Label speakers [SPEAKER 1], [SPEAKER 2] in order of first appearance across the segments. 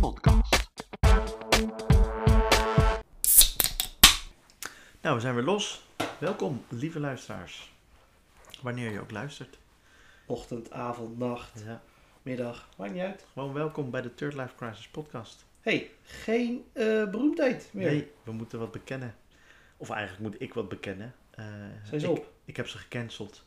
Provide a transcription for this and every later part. [SPEAKER 1] podcast.
[SPEAKER 2] Nou, we zijn weer los. Welkom, lieve luisteraars. Wanneer je ook luistert.
[SPEAKER 1] Ochtend, avond, nacht,
[SPEAKER 2] Ja.
[SPEAKER 1] middag, maakt niet uit.
[SPEAKER 2] Gewoon welkom bij de Third Life Crisis podcast.
[SPEAKER 1] hey, geen eh, beroemdheid meer.
[SPEAKER 2] Nee, we moeten wat bekennen. Of eigenlijk moet ik wat bekennen. Eh,
[SPEAKER 1] Zijn ze
[SPEAKER 2] ik,
[SPEAKER 1] op?
[SPEAKER 2] ik heb ze gecanceld.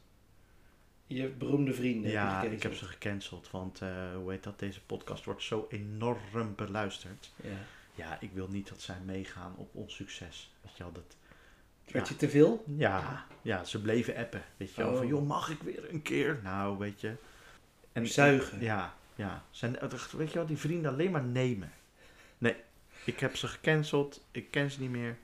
[SPEAKER 1] Je beroemde vrienden.
[SPEAKER 2] ja,
[SPEAKER 1] heb je
[SPEAKER 2] ik heb
[SPEAKER 1] gecanceld.
[SPEAKER 2] ze gecanceld. Want eh, hoe heet dat? Deze podcast wordt zo enorm beluisterd.
[SPEAKER 1] Ja.
[SPEAKER 2] Ja, ik wil niet dat zij meegaan op ons succes. Weet je wel, dat...
[SPEAKER 1] Werd je te veel?
[SPEAKER 2] Ja, ja, ze bleven appen. Weet je wel,
[SPEAKER 1] Oh.
[SPEAKER 2] van joh, mag ik weer een keer? Nou, weet je.
[SPEAKER 1] Zuigen.
[SPEAKER 2] Ja, ja. Zijn, weet je wel, die vrienden alleen maar nemen. Nee, ik heb ze gecanceld. Ik ken ze niet meer.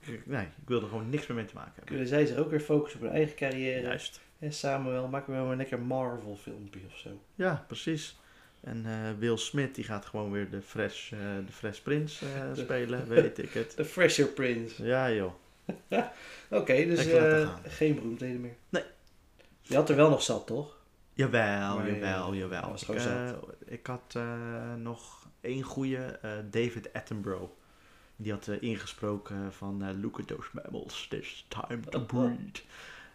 [SPEAKER 2] Ik- Nee, ik wil er gewoon niks meer mee te maken hebben.
[SPEAKER 1] Kunnen zij zich ook weer focussen op hun eigen carrière?
[SPEAKER 2] Juist.
[SPEAKER 1] En Samuel, maak we wel een lekker Marvel filmpje of zo.
[SPEAKER 2] Ja, precies. En eh Will Smith, die gaat gewoon weer de Fresh, eh, de fresh Prince eh, spelen, weet ik het.
[SPEAKER 1] The Fresher Prince.
[SPEAKER 2] Ja joh.
[SPEAKER 1] Oké, dus
[SPEAKER 2] Lekker laten
[SPEAKER 1] eh,
[SPEAKER 2] gaan.
[SPEAKER 1] geen beroemdheden meer.
[SPEAKER 2] Nee.
[SPEAKER 1] Je had er wel nog zat, toch?
[SPEAKER 2] Jawel,
[SPEAKER 1] Maar, eh,
[SPEAKER 2] jawel,
[SPEAKER 1] hij
[SPEAKER 2] jawel.
[SPEAKER 1] was
[SPEAKER 2] Ik,
[SPEAKER 1] gewoon
[SPEAKER 2] eh, ik had eh, nog één goede, eh, David Attenborough. Die had eh, ingesproken van eh, Look at those mammals, it's time to breed.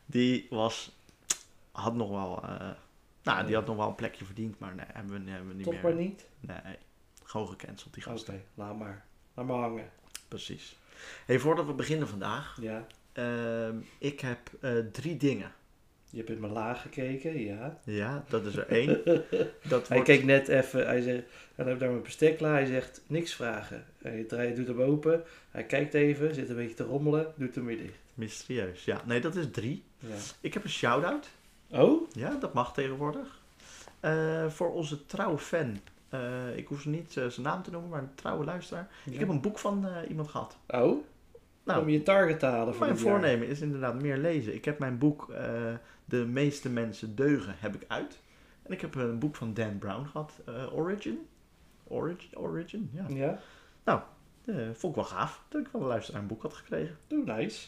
[SPEAKER 2] Die was, had nog wel, eh, nou die had nog wel een plekje verdiend, maar nee, hebben we, hebben we niet
[SPEAKER 1] toch
[SPEAKER 2] meer.
[SPEAKER 1] maar niet?
[SPEAKER 2] Nee, gewoon gecanceld die
[SPEAKER 1] Oké,
[SPEAKER 2] gasten.
[SPEAKER 1] laat maar. Laat maar hangen.
[SPEAKER 2] Precies. Hey, voordat we beginnen vandaag,
[SPEAKER 1] Ja,
[SPEAKER 2] ehm, ik heb eh, drie dingen.
[SPEAKER 1] je hebt in mijn laag gekeken, ja.
[SPEAKER 2] Ja, dat is er één. dat
[SPEAKER 1] Hij
[SPEAKER 2] wordt...
[SPEAKER 1] keek net even, hij zegt, dan heb ik daar mijn bestek klaar. Hij zegt, niks vragen. Hij draait, doet hem open, hij kijkt even, zit een beetje te rommelen, doet hem weer dicht.
[SPEAKER 2] Mysterieus, ja. Nee, dat is drie.
[SPEAKER 1] Ja.
[SPEAKER 2] Ik heb een shout-out.
[SPEAKER 1] Oh?
[SPEAKER 2] Ja, dat mag tegenwoordig. Eh, voor onze trouwe fan. Eh, ik hoef ze niet eh, zijn naam te noemen, maar een trouwe luisteraar. Ik heb een boek van eh, iemand gehad.
[SPEAKER 1] Oh?
[SPEAKER 2] Nou,
[SPEAKER 1] Om je target te halen voor
[SPEAKER 2] mijn
[SPEAKER 1] dit jaar.
[SPEAKER 2] voornemen is inderdaad meer lezen. Ik heb mijn boek eh, De meeste mensen deugen heb ik uit. En ik heb een boek van Dan Brown gehad. eh, Origin. Origin, Origin, ja.
[SPEAKER 1] Ja?
[SPEAKER 2] Eh, vond ik wel gaaf dat ik van de luisteraar een boek had gekregen.
[SPEAKER 1] Doe Oh, nice.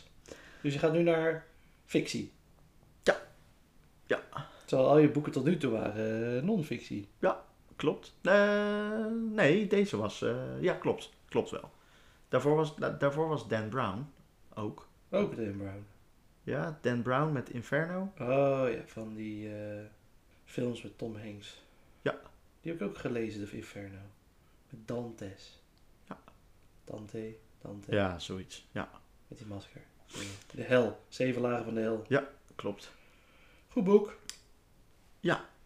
[SPEAKER 1] Dus je gaat nu naar fictie?
[SPEAKER 2] Ja. Ja.
[SPEAKER 1] Terwijl al je boeken tot nu toe waren eh, non-fictie.
[SPEAKER 2] Klopt. Eh, nee, deze was... eh, ja, klopt. Klopt wel. Daarvoor was, da- daarvoor was Dan Brown ook.
[SPEAKER 1] Ook Dan Brown.
[SPEAKER 2] Ja, Dan Brown met Inferno.
[SPEAKER 1] Oh ja, van die eh, films met Tom Hanks.
[SPEAKER 2] Ja.
[SPEAKER 1] Die heb ik ook gelezen, de Inferno. Met Dantes.
[SPEAKER 2] Ja.
[SPEAKER 1] Dante, Dante.
[SPEAKER 2] Ja, zoiets. Ja,
[SPEAKER 1] Met die masker. De hel. Zeven lagen van de hel.
[SPEAKER 2] klopt.
[SPEAKER 1] Goed boek.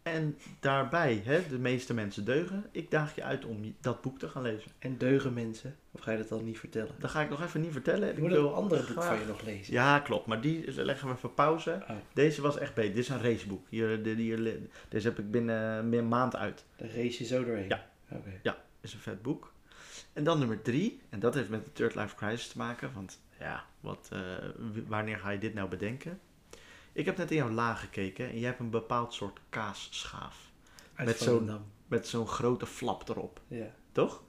[SPEAKER 2] En daarbij, hè, de meeste mensen deugen. Ik daag je uit om je- dat boek te gaan lezen.
[SPEAKER 1] En deugen mensen. Of ga je dat dan niet vertellen?
[SPEAKER 2] Dat ga ik nog even niet vertellen.
[SPEAKER 1] Ik moet ook een andere boek van je nog lezen.
[SPEAKER 2] Ja, klopt. Maar die leggen we even pauze.
[SPEAKER 1] Oh.
[SPEAKER 2] Deze was echt beter. Dit is een raceboek. Hier, dit- hier- deze heb ik binnen meer een maand uit.
[SPEAKER 1] Daar race je zo doorheen.
[SPEAKER 2] Ja.
[SPEAKER 1] Oké.
[SPEAKER 2] Is een vet boek. En dan nummer drie. En dat heeft met de Third Life Crisis te maken. Want ja, wat, eh, w- wanneer ga je dit nou bedenken? Ik heb net in jouw laag gekeken. En je hebt een bepaald soort kaasschaaf.
[SPEAKER 1] Uit
[SPEAKER 2] Met
[SPEAKER 1] Volendam.
[SPEAKER 2] Met zo'n grote flap erop,
[SPEAKER 1] Ja.
[SPEAKER 2] toch?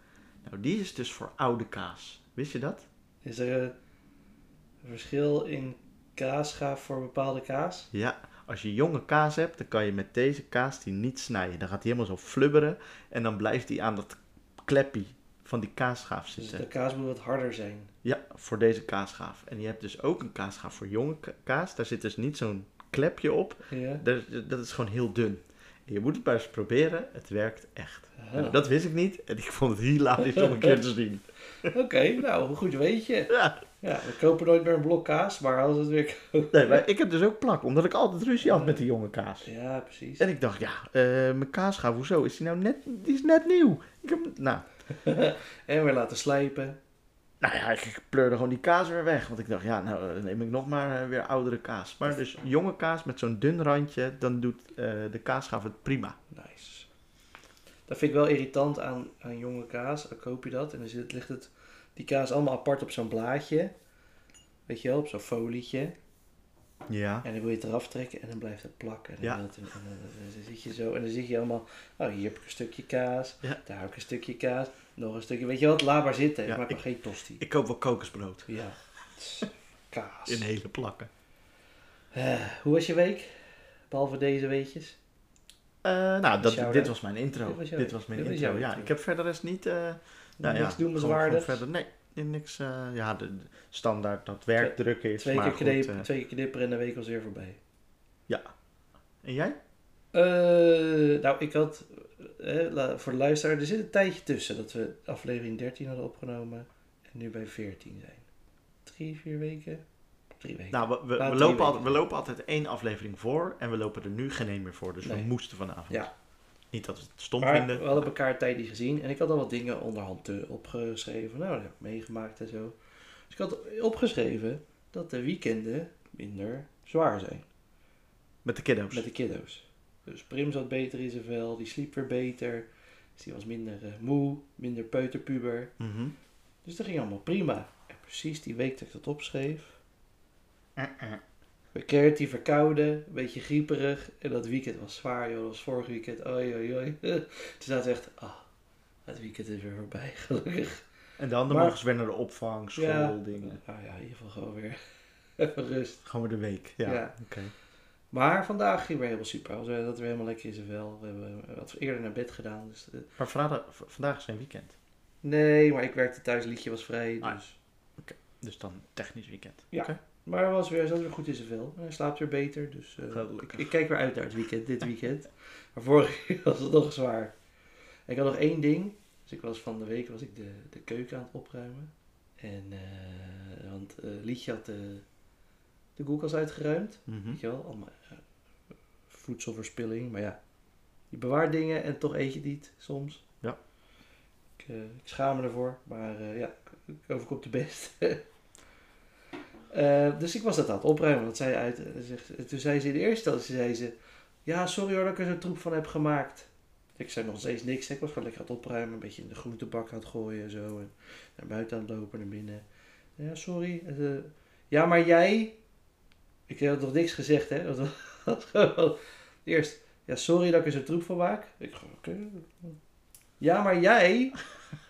[SPEAKER 2] Nou, die is dus voor oude kaas. Wist je dat?
[SPEAKER 1] Is er eh, een verschil in kaasgaaf voor bepaalde kaas?
[SPEAKER 2] Ja, als je jonge kaas hebt, dan kan je met deze kaas die niet snijden. Dan gaat die helemaal zo flubberen en dan blijft die aan dat klepje van die kaasschaaf
[SPEAKER 1] Dus
[SPEAKER 2] zitten.
[SPEAKER 1] de kaas moet wat harder zijn.
[SPEAKER 2] Ja, voor deze kaasschaaf. En je hebt dus ook een kaasschaaf voor jonge ka- kaas. Daar zit dus niet zo'n klepje op.
[SPEAKER 1] Ja.
[SPEAKER 2] Daar- Dat is gewoon heel dun. En je moet het maar eens proberen. Het werkt echt.
[SPEAKER 1] Aha.
[SPEAKER 2] Nou, dat wist ik niet en ik vond het hilarisch om een keer te zien.
[SPEAKER 1] Oké, nou, goed weet je.
[SPEAKER 2] Ja.
[SPEAKER 1] Ja, we kopen nooit meer een blok kaas, maar als het weer...
[SPEAKER 2] Nee, maar ik heb dus ook plak, omdat ik altijd ruzie had met die jonge kaas.
[SPEAKER 1] Ja, precies.
[SPEAKER 2] En ik dacht, ja, eh mijn kaasschaaf, hoezo? Is die nou net, die is net nieuw. Ik heb, nou,
[SPEAKER 1] En weer laten slijpen.
[SPEAKER 2] nou ja, ik pleurde gewoon die kaas weer weg. Want ik dacht, ja, nou dan neem ik nog maar eh, weer oudere kaas. Maar dus jonge kaas met zo'n dun randje, dan doet eh, de kaasschaaf het prima.
[SPEAKER 1] Nice. Dat vind ik wel irritant aan, aan jonge kaas. Dan koop je dat en dan zit, ligt het, die kaas allemaal apart op zo'n blaadje. Weet je wel, op zo'n folietje.
[SPEAKER 2] Ja.
[SPEAKER 1] En dan wil je het eraf trekken en dan blijft het plakken. En dan,
[SPEAKER 2] Ja.
[SPEAKER 1] wil het- en dan, dan- dan zit je zo en dan zit je allemaal... Oh, hier heb ik een stukje kaas.
[SPEAKER 2] Ja.
[SPEAKER 1] Daar heb ik een stukje kaas. Nog een stukje. Weet je wat, laat maar zitten.
[SPEAKER 2] Ja,
[SPEAKER 1] ik maak
[SPEAKER 2] ik-
[SPEAKER 1] maar geen tosti.
[SPEAKER 2] Ik koop wel kokosbrood.
[SPEAKER 1] Ja. Kaas.
[SPEAKER 2] In hele plakken.
[SPEAKER 1] Eh, hoe was je week? Behalve deze weetjes.
[SPEAKER 2] Eh, nou,
[SPEAKER 1] was
[SPEAKER 2] dat,
[SPEAKER 1] jouw
[SPEAKER 2] dit
[SPEAKER 1] dag.
[SPEAKER 2] was mijn intro.
[SPEAKER 1] Dit
[SPEAKER 2] Dit
[SPEAKER 1] was jouw
[SPEAKER 2] was,
[SPEAKER 1] dag.
[SPEAKER 2] mijn
[SPEAKER 1] Dit was
[SPEAKER 2] intro.
[SPEAKER 1] jouw
[SPEAKER 2] ja,
[SPEAKER 1] intro.
[SPEAKER 2] ik heb verder is niet. eh nou ja,
[SPEAKER 1] niks doen
[SPEAKER 2] gewoon-
[SPEAKER 1] bezwaardigs.
[SPEAKER 2] gewoon verder. Nee, niks. eh, ja, de, de standaard dat werk druk is.
[SPEAKER 1] Twee
[SPEAKER 2] maar
[SPEAKER 1] keer,
[SPEAKER 2] goed,
[SPEAKER 1] knip,
[SPEAKER 2] eh,
[SPEAKER 1] twee keer knipperen en de week was weer voorbij.
[SPEAKER 2] en jij?
[SPEAKER 1] Eh, nou, ik had eh, la- voor de luisteraar, er zit een tijdje tussen dat we aflevering 13 hadden opgenomen en nu bij 14 zijn. Drie, vier weken? Drie weken.
[SPEAKER 2] Nou, we, we,
[SPEAKER 1] Laat
[SPEAKER 2] we,
[SPEAKER 1] drie
[SPEAKER 2] lopen altijd, we
[SPEAKER 1] weken.
[SPEAKER 2] lopen altijd één aflevering voor en we lopen er nu geen één meer voor. Dus we
[SPEAKER 1] Nee.
[SPEAKER 2] moesten vanavond.
[SPEAKER 1] Ja.
[SPEAKER 2] Niet dat we het stom
[SPEAKER 1] maar
[SPEAKER 2] vinden.
[SPEAKER 1] we hadden elkaar tijdje gezien en ik had al wat dingen onderhand eh, opgeschreven. Nou, dat heb ik meegemaakt en zo. Dus ik had opgeschreven dat de weekenden minder zwaar zijn
[SPEAKER 2] Met de kiddo's.
[SPEAKER 1] met de kiddo's. Dus Prim zat beter in zijn vel, die sliep weer beter. Dus die was minder eh, moe, minder peuterpuber.
[SPEAKER 2] Mhm.
[SPEAKER 1] Dus dat ging allemaal prima. En precies die week dat ik dat opschreef. Eh, We keert die verkouden, een beetje grieperig. En dat weekend was zwaar, joh. Dat was vorig weekend. Oi, oi, oi. Toen zaten we echt, ah, het weekend is weer voorbij, gelukkig.
[SPEAKER 2] En dan, dan
[SPEAKER 1] Maar-
[SPEAKER 2] mogen ze weer naar de opvang, school,
[SPEAKER 1] Ja.
[SPEAKER 2] dingen.
[SPEAKER 1] Nou ja, in ieder geval gewoon weer even rust.
[SPEAKER 2] Gewoon weer de week. Ja.
[SPEAKER 1] Ja.
[SPEAKER 2] Oké.
[SPEAKER 1] Maar vandaag ging weer helemaal super. We zaten weer helemaal lekker in zijn vel. We hebben wat eerder naar bed gedaan. Dus, eh,
[SPEAKER 2] Maar vandaag, v- vandaag is geen weekend.
[SPEAKER 1] nee, maar ik werkte thuis, liedje was vrij. Dus.
[SPEAKER 2] Ah. Dus dan technisch weekend.
[SPEAKER 1] Ja.
[SPEAKER 2] Oké.
[SPEAKER 1] Maar hij was weer, zat weer goed in zijn vel. Hij slaapt weer beter. Dus eh, ik,
[SPEAKER 2] Gelukkig.
[SPEAKER 1] ik kijk weer uit naar het weekend, dit weekend. Maar vorig keer was het nog zwaar. En ik had nog één ding. Dus ik was van de week was ik de, de keuken aan het opruimen. En, eh, want eh, Lietje had de, de koelkast uitgeruimd.
[SPEAKER 2] Mhm.
[SPEAKER 1] Weet je wel, allemaal eh, voedselverspilling. Maar ja, je bewaart dingen en toch eet je het niet soms.
[SPEAKER 2] Ja.
[SPEAKER 1] Ik, eh, ik schaam me ervoor, maar eh, ja, ik ik overkom de best. Eh, dus ik was dat aan het opruimen. Want zij uit, eh, zegt, en toen zei ze in de eerste instantie, zei ze... Ja, sorry hoor dat ik er zo'n troep van heb gemaakt. Ik zei nog steeds niks. hè. Ik was gewoon lekker aan het opruimen. Een beetje in de groentebak aan het gooien en zo. En naar buiten aan het lopen, naar binnen. Ja, sorry. Eh, ja, maar jij... Ik had nog niks gezegd, hè. Dat was gewoon... Eerst, ja, sorry dat ik er zo'n troep van maak. Ik gewoon, oké. Ja, maar jij...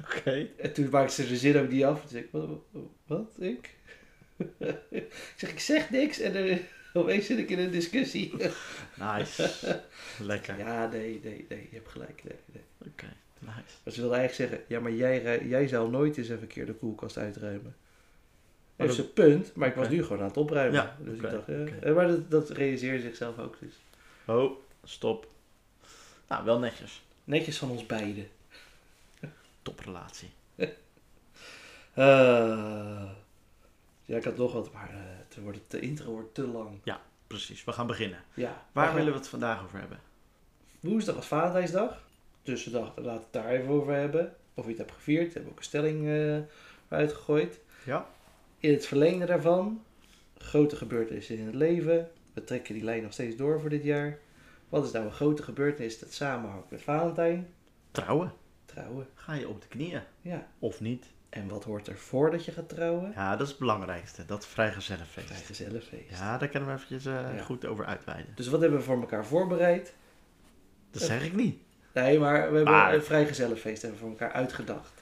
[SPEAKER 2] Oké.
[SPEAKER 1] En toen maakte ze de zin ook niet af. Toen zei ik, wat? wat- wat ik? ik zeg, ik zeg niks. En dan opeens zit ik in een discussie.
[SPEAKER 2] Nice. Lekker.
[SPEAKER 1] ja, nee, nee, nee. Je hebt gelijk. Nee, nee.
[SPEAKER 2] Oké. Nice.
[SPEAKER 1] Maar ze wilde eigenlijk zeggen, ja, maar jij, rui- jij zou nooit eens even een keer de koelkast uitruimen.
[SPEAKER 2] Maar
[SPEAKER 1] Dat
[SPEAKER 2] dat-
[SPEAKER 1] is een punt, maar ik was
[SPEAKER 2] Oké.
[SPEAKER 1] nu gewoon aan het opruimen.
[SPEAKER 2] Ja,
[SPEAKER 1] dus
[SPEAKER 2] oké,
[SPEAKER 1] ik dacht, eh,
[SPEAKER 2] oké.
[SPEAKER 1] eh, maar dat, dat realiseerde zichzelf ook. Dus.
[SPEAKER 2] Oh, stop. Nou, wel netjes.
[SPEAKER 1] Netjes van ons beiden.
[SPEAKER 2] Toprelatie.
[SPEAKER 1] Eh, ja, ik had nog wat, maar eh, het wordt, de intro wordt te lang.
[SPEAKER 2] Precies. We gaan beginnen.
[SPEAKER 1] Ja,
[SPEAKER 2] Waar
[SPEAKER 1] maar-
[SPEAKER 2] willen we het vandaag over hebben?
[SPEAKER 1] Woensdag was Valentijnsdag. Dus we dachten, laten we het daar even over hebben. Of je het hebt gevierd. We hebben ook een stelling eh uitgegooid.
[SPEAKER 2] Ja.
[SPEAKER 1] In het verlengde daarvan, grote gebeurtenissen in het leven. We trekken die lijn nog steeds door voor dit jaar. Wat is nou een grote gebeurtenis dat samenhangt met Valentijn?
[SPEAKER 2] Trouwen.
[SPEAKER 1] Trouwen.
[SPEAKER 2] Ga je op de knieën?
[SPEAKER 1] Ja.
[SPEAKER 2] Of niet?
[SPEAKER 1] En wat hoort er voordat je gaat trouwen?
[SPEAKER 2] Ja, dat is het belangrijkste. Dat vrijgezellenfeest.
[SPEAKER 1] Vrijgezellenfeest.
[SPEAKER 2] Ja, daar kunnen we eventjes eh,
[SPEAKER 1] Ja.
[SPEAKER 2] goed over uitweiden.
[SPEAKER 1] Dus wat hebben we voor elkaar voorbereid?
[SPEAKER 2] Dat zeg ik niet.
[SPEAKER 1] Nee, maar we hebben
[SPEAKER 2] Maar-
[SPEAKER 1] een vrijgezellenfeest hebben we voor elkaar uitgedacht.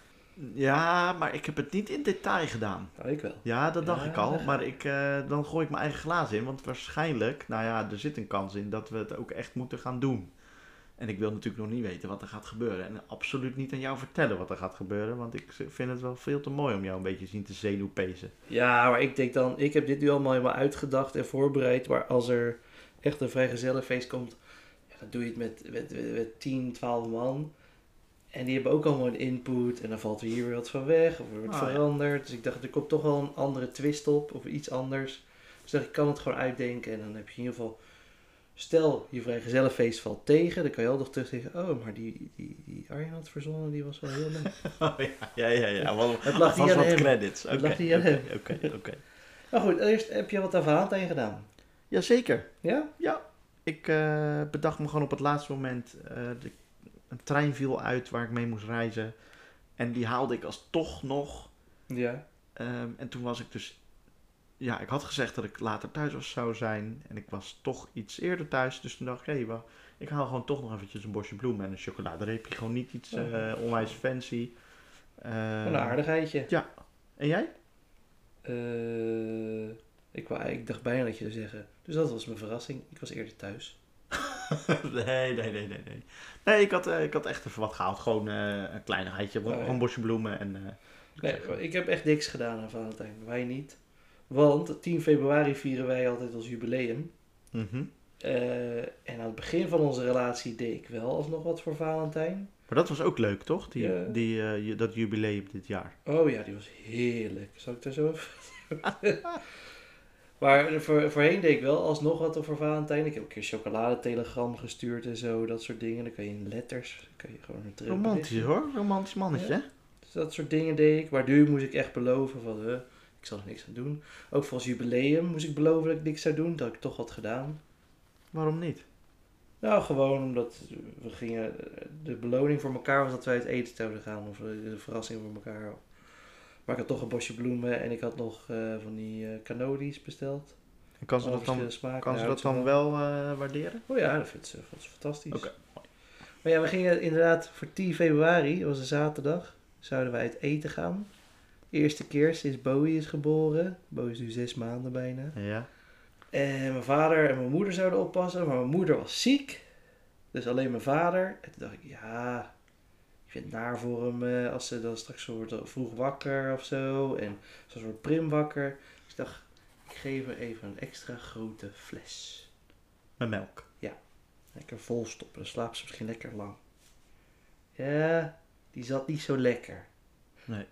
[SPEAKER 2] Ja, maar ik heb het niet in detail gedaan.
[SPEAKER 1] Nou, ik wel.
[SPEAKER 2] Ja, dat dacht
[SPEAKER 1] Ja.
[SPEAKER 2] ik al. Maar ik, eh, dan gooi ik mijn eigen glaas in. Want waarschijnlijk, nou ja, er zit een kans in dat we het ook echt moeten gaan doen. En ik wil natuurlijk nog niet weten wat er gaat gebeuren. En absoluut niet aan jou vertellen wat er gaat gebeuren. Want ik vind het wel veel te mooi om jou een beetje zien te zenuwpezen.
[SPEAKER 1] Ja, maar ik denk dan, ik heb dit nu allemaal helemaal uitgedacht en voorbereid. Maar als er echt een vrijgezellenfeest komt, ja, dan doe je het met, met, met, met 10, 12 man. En die hebben ook allemaal een input. En dan valt er hier weer wat van weg. Of er wordt
[SPEAKER 2] Ah, ja.
[SPEAKER 1] veranderd. Dus ik dacht, er komt toch wel een andere twist op. Of iets anders. Dus ik dacht, ik kan het gewoon uitdenken. En dan heb je in ieder geval... Stel, je vrijgezellenfeest valt tegen. Dan kan je altijd nog terug zeggen... Oh, maar die, die, die Arjen had verzonnen, die was wel heel leuk.
[SPEAKER 2] Oh, ja, ja, ja. ja. Wat,
[SPEAKER 1] Het lag
[SPEAKER 2] was
[SPEAKER 1] niet aan
[SPEAKER 2] wat
[SPEAKER 1] hem.
[SPEAKER 2] credits.
[SPEAKER 1] Het
[SPEAKER 2] Oké,
[SPEAKER 1] lag niet aan
[SPEAKER 2] oké,
[SPEAKER 1] hem.
[SPEAKER 2] oké, oké.
[SPEAKER 1] Maar goed, eerst heb je wat aan Valentijn gedaan.
[SPEAKER 2] Jazeker.
[SPEAKER 1] Ja?
[SPEAKER 2] Ik eh, bedacht me gewoon op het laatste moment. eh, de, een trein viel uit waar ik mee moest reizen. En die haalde ik als toch nog.
[SPEAKER 1] Ja.
[SPEAKER 2] Ehm, en toen was ik dus. Ja, ik had gezegd dat ik later thuis was- zou zijn. En ik was toch iets eerder thuis. Dus toen dacht ik, hé, wa- ik haal gewoon toch nog eventjes een bosje bloemen en een chocoladereepje. Gewoon niet iets eh, onwijs fancy. Ehm,
[SPEAKER 1] Een aardigheidje.
[SPEAKER 2] En jij?
[SPEAKER 1] Eh, ik, wou, ik dacht bijna dat je zou zeggen. Dus dat was mijn verrassing. Ik was eerder thuis.
[SPEAKER 2] nee, nee, nee, nee, nee. Nee, ik had, eh, ik had echt even wat gehaald. Gewoon eh, een kleinigheidje,
[SPEAKER 1] Oh, ja.
[SPEAKER 2] een bosje bloemen en... eh,
[SPEAKER 1] Nee, maar ik heb echt niks gedaan aan Valentijn. Wij niet. Want 10 februari vieren wij altijd ons jubileum.
[SPEAKER 2] mhm.
[SPEAKER 1] Eh, en aan het begin van onze relatie deed ik wel alsnog wat voor Valentijn.
[SPEAKER 2] Maar dat was ook leuk, toch? Die,
[SPEAKER 1] Ja.
[SPEAKER 2] die, eh, ju- dat jubileum dit jaar.
[SPEAKER 1] Oh ja, die was heerlijk. Zal ik daar zo even... maar voor, voorheen deed ik wel alsnog wat voor Valentijn. Ik heb een keer chocoladetelegram gestuurd en zo. Dat soort dingen. Dan kan je in letters... Dan kan je gewoon een terug-
[SPEAKER 2] Romantisch hoor, romantisch mannetje. hè?
[SPEAKER 1] Dus dat soort dingen deed ik. Maar nu moest ik echt beloven van... eh, ik zal er niks aan doen. Ook voor ons jubileum moest ik beloven dat ik niks zou doen. Dat had ik toch had gedaan.
[SPEAKER 2] Waarom niet?
[SPEAKER 1] Nou, gewoon omdat we gingen... De beloning voor elkaar was dat wij uit eten zouden gaan. Of eh, de verrassing voor elkaar. Maar ik had toch een bosje bloemen. En ik had nog eh, van die eh canodies besteld.
[SPEAKER 2] En kan ze
[SPEAKER 1] Alle
[SPEAKER 2] dat dan,
[SPEAKER 1] verschillende smaken. Nou,
[SPEAKER 2] kan ze
[SPEAKER 1] Daar
[SPEAKER 2] dat
[SPEAKER 1] houdt
[SPEAKER 2] dan wel eh, waarderen?
[SPEAKER 1] van. Oh ja, dat vindt ze, vond ze fantastisch.
[SPEAKER 2] Oké.
[SPEAKER 1] Maar ja, we gingen inderdaad voor 10 februari, dat was een zaterdag, zouden wij uit eten gaan. Eerste keer sinds Bowie is geboren. Bowie is nu zes maanden bijna.
[SPEAKER 2] Ja.
[SPEAKER 1] En Eh, mijn vader en mijn moeder zouden oppassen, maar mijn moeder was ziek. Dus alleen mijn vader. En toen dacht ik, ja, ik vind het naar voor hem eh, als ze dan straks zo wordt vroeg wakker of zo. En zo'n soort prim wakker. Dus ik dacht, ik geef haar even een extra grote fles.
[SPEAKER 2] Met melk.
[SPEAKER 1] Lekker vol stoppen, dan slaapt ze misschien lekker lang. Ja, die zat niet zo lekker.
[SPEAKER 2] Nee.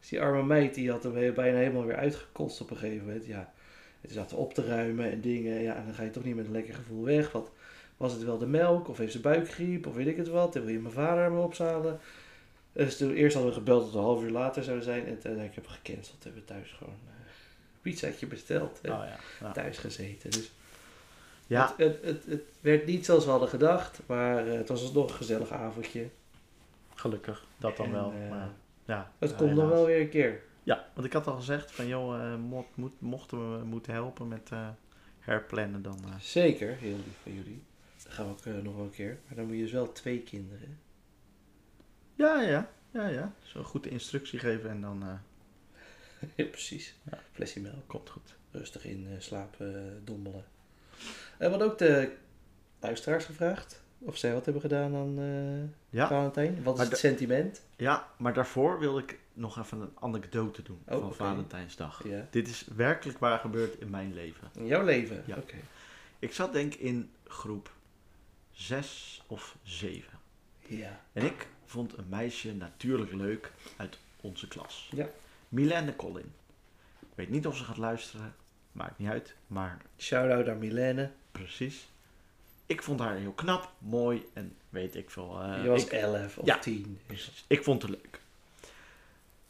[SPEAKER 1] Dus die arme meid die had hem he- bijna helemaal weer uitgekost op een gegeven moment. Ja, het zat op te ruimen en dingen. Ja, en dan ga je toch niet met een lekker gevoel weg. Want was het wel de melk of heeft ze buikgriep of weet ik het wat? Dan wil je mijn vader me opzalen. Dus toen, eerst hadden we gebeld dat we een half uur later zouden zijn. En toen heb ik heb gecanceld. Hebben we thuis gewoon eh, een pizzaatje besteld. en
[SPEAKER 2] Oh ja. Ja.
[SPEAKER 1] Thuis gezeten. Dus
[SPEAKER 2] Ja,
[SPEAKER 1] het, het, het, het werd niet zoals we hadden gedacht, maar eh, het was nog een gezellig avondje.
[SPEAKER 2] gelukkig. Dat dan
[SPEAKER 1] En,
[SPEAKER 2] wel.
[SPEAKER 1] eh,
[SPEAKER 2] maar, ja,
[SPEAKER 1] Het
[SPEAKER 2] ja,
[SPEAKER 1] komt nog
[SPEAKER 2] helaas.
[SPEAKER 1] wel weer een keer.
[SPEAKER 2] Ja, want ik had al gezegd van joh, eh, mo- moet, mochten we moeten helpen met eh, herplannen dan. eh.
[SPEAKER 1] Zeker, heel lief van jullie. Dat gaan we ook eh, nog wel een keer. Maar dan moet je dus wel twee kinderen.
[SPEAKER 2] Ja, ja, ja, ja. Zo goed de instructie geven en dan eh,
[SPEAKER 1] ja, precies. Flesje melk,
[SPEAKER 2] komt goed.
[SPEAKER 1] rustig in eh, slaap eh, dommelen. En wat ook de luisteraars gevraagd of zij wat hebben gedaan aan eh
[SPEAKER 2] Ja.
[SPEAKER 1] Valentijn. Wat is
[SPEAKER 2] Maar
[SPEAKER 1] het sentiment?
[SPEAKER 2] Ja, maar daarvoor wilde ik nog even een anekdote doen
[SPEAKER 1] Oh,
[SPEAKER 2] van
[SPEAKER 1] oké.
[SPEAKER 2] Valentijnsdag.
[SPEAKER 1] Ja.
[SPEAKER 2] Dit is werkelijk waar gebeurd in mijn leven.
[SPEAKER 1] In jouw leven?
[SPEAKER 2] Ja.
[SPEAKER 1] Oké.
[SPEAKER 2] Ik zat denk ik in groep 6 of 7.
[SPEAKER 1] Ja.
[SPEAKER 2] En ik vond een meisje natuurlijk leuk uit onze klas.
[SPEAKER 1] Ja.
[SPEAKER 2] Milène Collin. Ik weet niet of ze gaat luisteren. Maakt niet uit. Maar
[SPEAKER 1] Shout-out aan Milene.
[SPEAKER 2] precies. Ik vond haar heel knap, mooi en weet ik veel. eh,
[SPEAKER 1] je was
[SPEAKER 2] ik,
[SPEAKER 1] 11 of
[SPEAKER 2] ja.
[SPEAKER 1] 10.
[SPEAKER 2] Precies. Ik vond het leuk.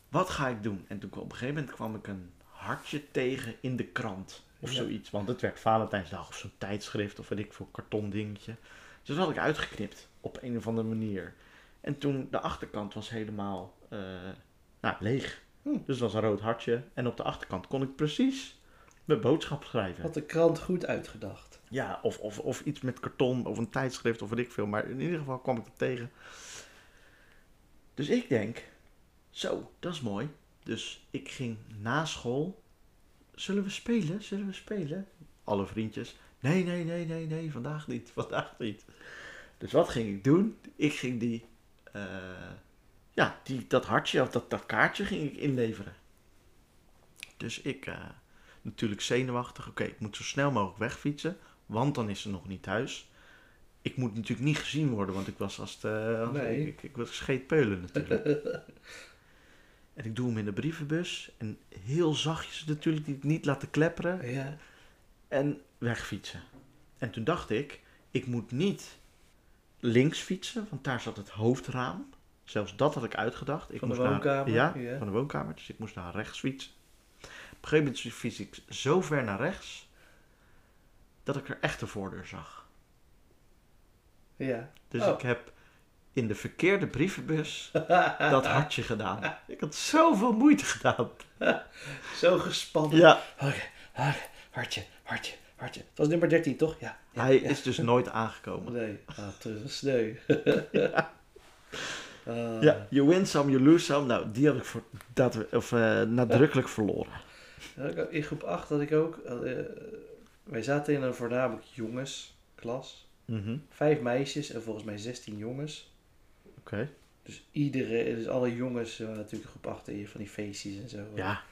[SPEAKER 2] Wat ga ik doen? En toen kwam op een gegeven moment kwam ik een hartje tegen in de krant. Of
[SPEAKER 1] Ja.
[SPEAKER 2] zoiets. Want het werd Valentijnsdag of zo'n tijdschrift of weet ik veel karton dingetje. Dus dat had ik uitgeknipt op een of andere manier. En toen de achterkant was helemaal eh, nou, leeg.
[SPEAKER 1] Hm.
[SPEAKER 2] Dus het was een rood hartje. En op de achterkant kon ik precies mijn boodschap schrijven.
[SPEAKER 1] Had de krant goed uitgedacht.
[SPEAKER 2] Ja, of, of, of iets met karton of een tijdschrift of weet ik veel. Maar in ieder geval kwam ik het tegen. Dus ik denk, zo, dat is mooi. Dus ik ging na school. Zullen we spelen? Zullen we spelen? Alle vriendjes. Nee, nee, nee, nee, nee, vandaag niet, vandaag niet. Dus wat ging ik doen? Ik ging die, eh, ja, die, dat hartje of dat, dat kaartje ging ik inleveren. Dus ik, eh, natuurlijk zenuwachtig. Oké, ik moet zo snel mogelijk wegfietsen, want dan is ze nog niet thuis. Ik moet natuurlijk niet gezien worden, want ik was als de, als-
[SPEAKER 1] Nee.
[SPEAKER 2] ik, ik, ik was scheetpeulen natuurlijk. en ik doe hem in de brievenbus en heel zachtjes natuurlijk, niet- niet laten klepperen.
[SPEAKER 1] Ja.
[SPEAKER 2] En wegfietsen. En toen dacht ik, ik moet niet links fietsen, want daar zat het hoofdraam. Zelfs dat had ik uitgedacht. Ik
[SPEAKER 1] Van de
[SPEAKER 2] moest daar-
[SPEAKER 1] woonkamer,
[SPEAKER 2] ja,
[SPEAKER 1] ja.
[SPEAKER 2] van de woonkamer. Dus ik moest naar rechts fietsen. Op een gegeven moment fiets ik zo ver naar rechts, dat ik er echt de voordeur zag.
[SPEAKER 1] Ja.
[SPEAKER 2] Dus
[SPEAKER 1] Oh.
[SPEAKER 2] ik heb in de verkeerde brievenbus dat hartje gedaan. Ik had zoveel moeite gedaan.
[SPEAKER 1] Zo gespannen.
[SPEAKER 2] Ja,
[SPEAKER 1] Oké, oké. hartje, hartje, hartje. Het was nummer 13, toch? Ja. ja,
[SPEAKER 2] hij
[SPEAKER 1] ja.
[SPEAKER 2] is dus nooit aangekomen.
[SPEAKER 1] Nee, ah, terug was sneu. Ah,
[SPEAKER 2] Ja, you win some, you lose some. Nou, die had ik voor, dat, of, eh, nadrukkelijk verloren.
[SPEAKER 1] ik had- In groep 8 had ik ook... eh, wij zaten in een voornamelijk jongensklas.
[SPEAKER 2] Mhm.
[SPEAKER 1] Vijf meisjes en volgens mij 16 jongens.
[SPEAKER 2] Oké.
[SPEAKER 1] Dus iedere, dus alle jongens waren natuurlijk groep achter je van die feestjes en zo.
[SPEAKER 2] Ja.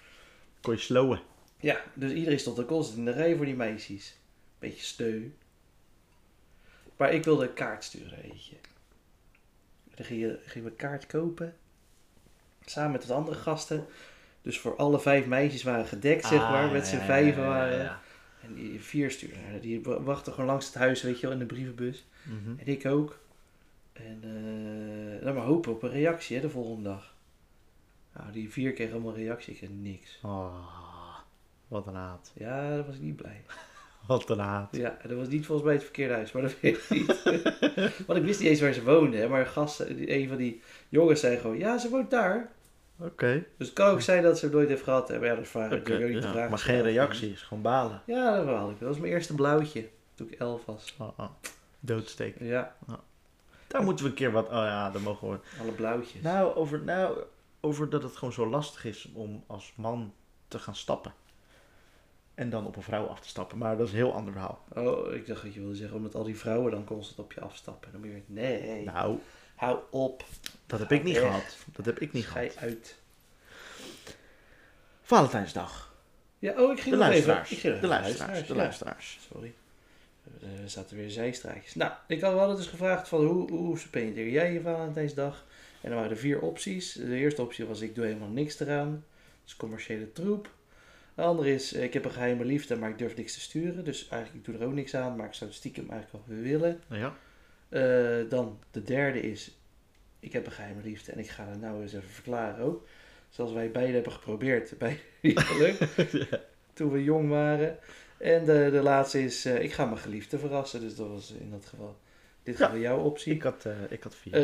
[SPEAKER 2] Kon je slowen.
[SPEAKER 1] Ja, dus iedereen stond er constant in de rij voor die meisjes. Beetje steu. Maar ik wilde een kaart sturen, eentje. Dan ging, je, ging we kaart kopen. Samen met wat andere gasten. Dus voor alle vijf meisjes waren gedekt, zeg
[SPEAKER 2] Ah,
[SPEAKER 1] maar. met z'n vijven waren. En die vier stuurden. Die wa- wachten gewoon langs het huis, weet je wel, in de brievenbus.
[SPEAKER 2] Mhm.
[SPEAKER 1] En ik ook. En eh, dan maar hopen op een reactie hè, de volgende dag. Nou, die vier kregen allemaal reactie. Ik kreeg niks.
[SPEAKER 2] Oh, wat een haat.
[SPEAKER 1] Ja, daar was ik niet blij.
[SPEAKER 2] Wat een haat.
[SPEAKER 1] Ja, dat was niet volgens mij het verkeerde huis, maar dat weet ik niet. Want ik wist niet eens waar ze woonden. Hè? Maar gasten, die- een van die jongens zei gewoon, ja, ze woont daar.
[SPEAKER 2] Oké.
[SPEAKER 1] Dus het kan ook zijn dat ze het nooit heeft gehad. Hè? Maar ja, dat vraag ik
[SPEAKER 2] Oké,
[SPEAKER 1] natuurlijk ook niet
[SPEAKER 2] ja.
[SPEAKER 1] te vragen.
[SPEAKER 2] Maar geen reactie, is gewoon balen.
[SPEAKER 1] Ja, dat verhaal ik. Dat was mijn eerste blauwtje, toen ik elf was.
[SPEAKER 2] Oh, oh. Doodsteek.
[SPEAKER 1] Ja,
[SPEAKER 2] Daar moeten we een keer wat... Oh ja, daar mogen we...
[SPEAKER 1] alle blauwtjes.
[SPEAKER 2] Nou over, nou, over dat het gewoon zo lastig is om als man te gaan stappen. En dan op een vrouw af te stappen. Maar dat is een heel ander verhaal.
[SPEAKER 1] Oh, ik dacht dat je wilde zeggen, omdat al die vrouwen dan constant op je afstappen. Dan meer, nee,
[SPEAKER 2] Nou,
[SPEAKER 1] hou op,
[SPEAKER 2] dat heb ik niet
[SPEAKER 1] Echt?
[SPEAKER 2] gehad. Dat heb ik niet
[SPEAKER 1] schij
[SPEAKER 2] gehad.
[SPEAKER 1] uit.
[SPEAKER 2] Valentijnsdag.
[SPEAKER 1] Ja, oh, ik ging
[SPEAKER 2] De
[SPEAKER 1] nog
[SPEAKER 2] luisteraars.
[SPEAKER 1] even. Ik ging nog
[SPEAKER 2] De
[SPEAKER 1] even
[SPEAKER 2] luisteraars. De
[SPEAKER 1] ja.
[SPEAKER 2] luisteraars.
[SPEAKER 1] Sorry. Eh, Er zaten weer zijstraatjes. Nou, ik had wel dus gevraagd van hoe, hoe spendeer jij je Valentijnsdag? En dan waren er vier opties. De eerste optie was ik doe helemaal niks eraan. Dat is commerciële troep. De andere is eh, ik heb een geheime liefde, maar ik durf niks te sturen. Dus eigenlijk ik doe er ook niks aan, maar ik zou het stiekem eigenlijk wel weer willen.
[SPEAKER 2] Ja.
[SPEAKER 1] Eh, dan de derde is ik heb een geheime liefde en ik ga het nou eens even verklaren ook. Zoals wij beide hebben geprobeerd, bij niet gelukt toen we jong waren. En de, de laatste is, eh, ik ga mijn geliefde verrassen. Dus dat was in dat geval, dit
[SPEAKER 2] Ja.
[SPEAKER 1] geval jouw optie.
[SPEAKER 2] Ik had, eh, ik had vier.
[SPEAKER 1] Eh,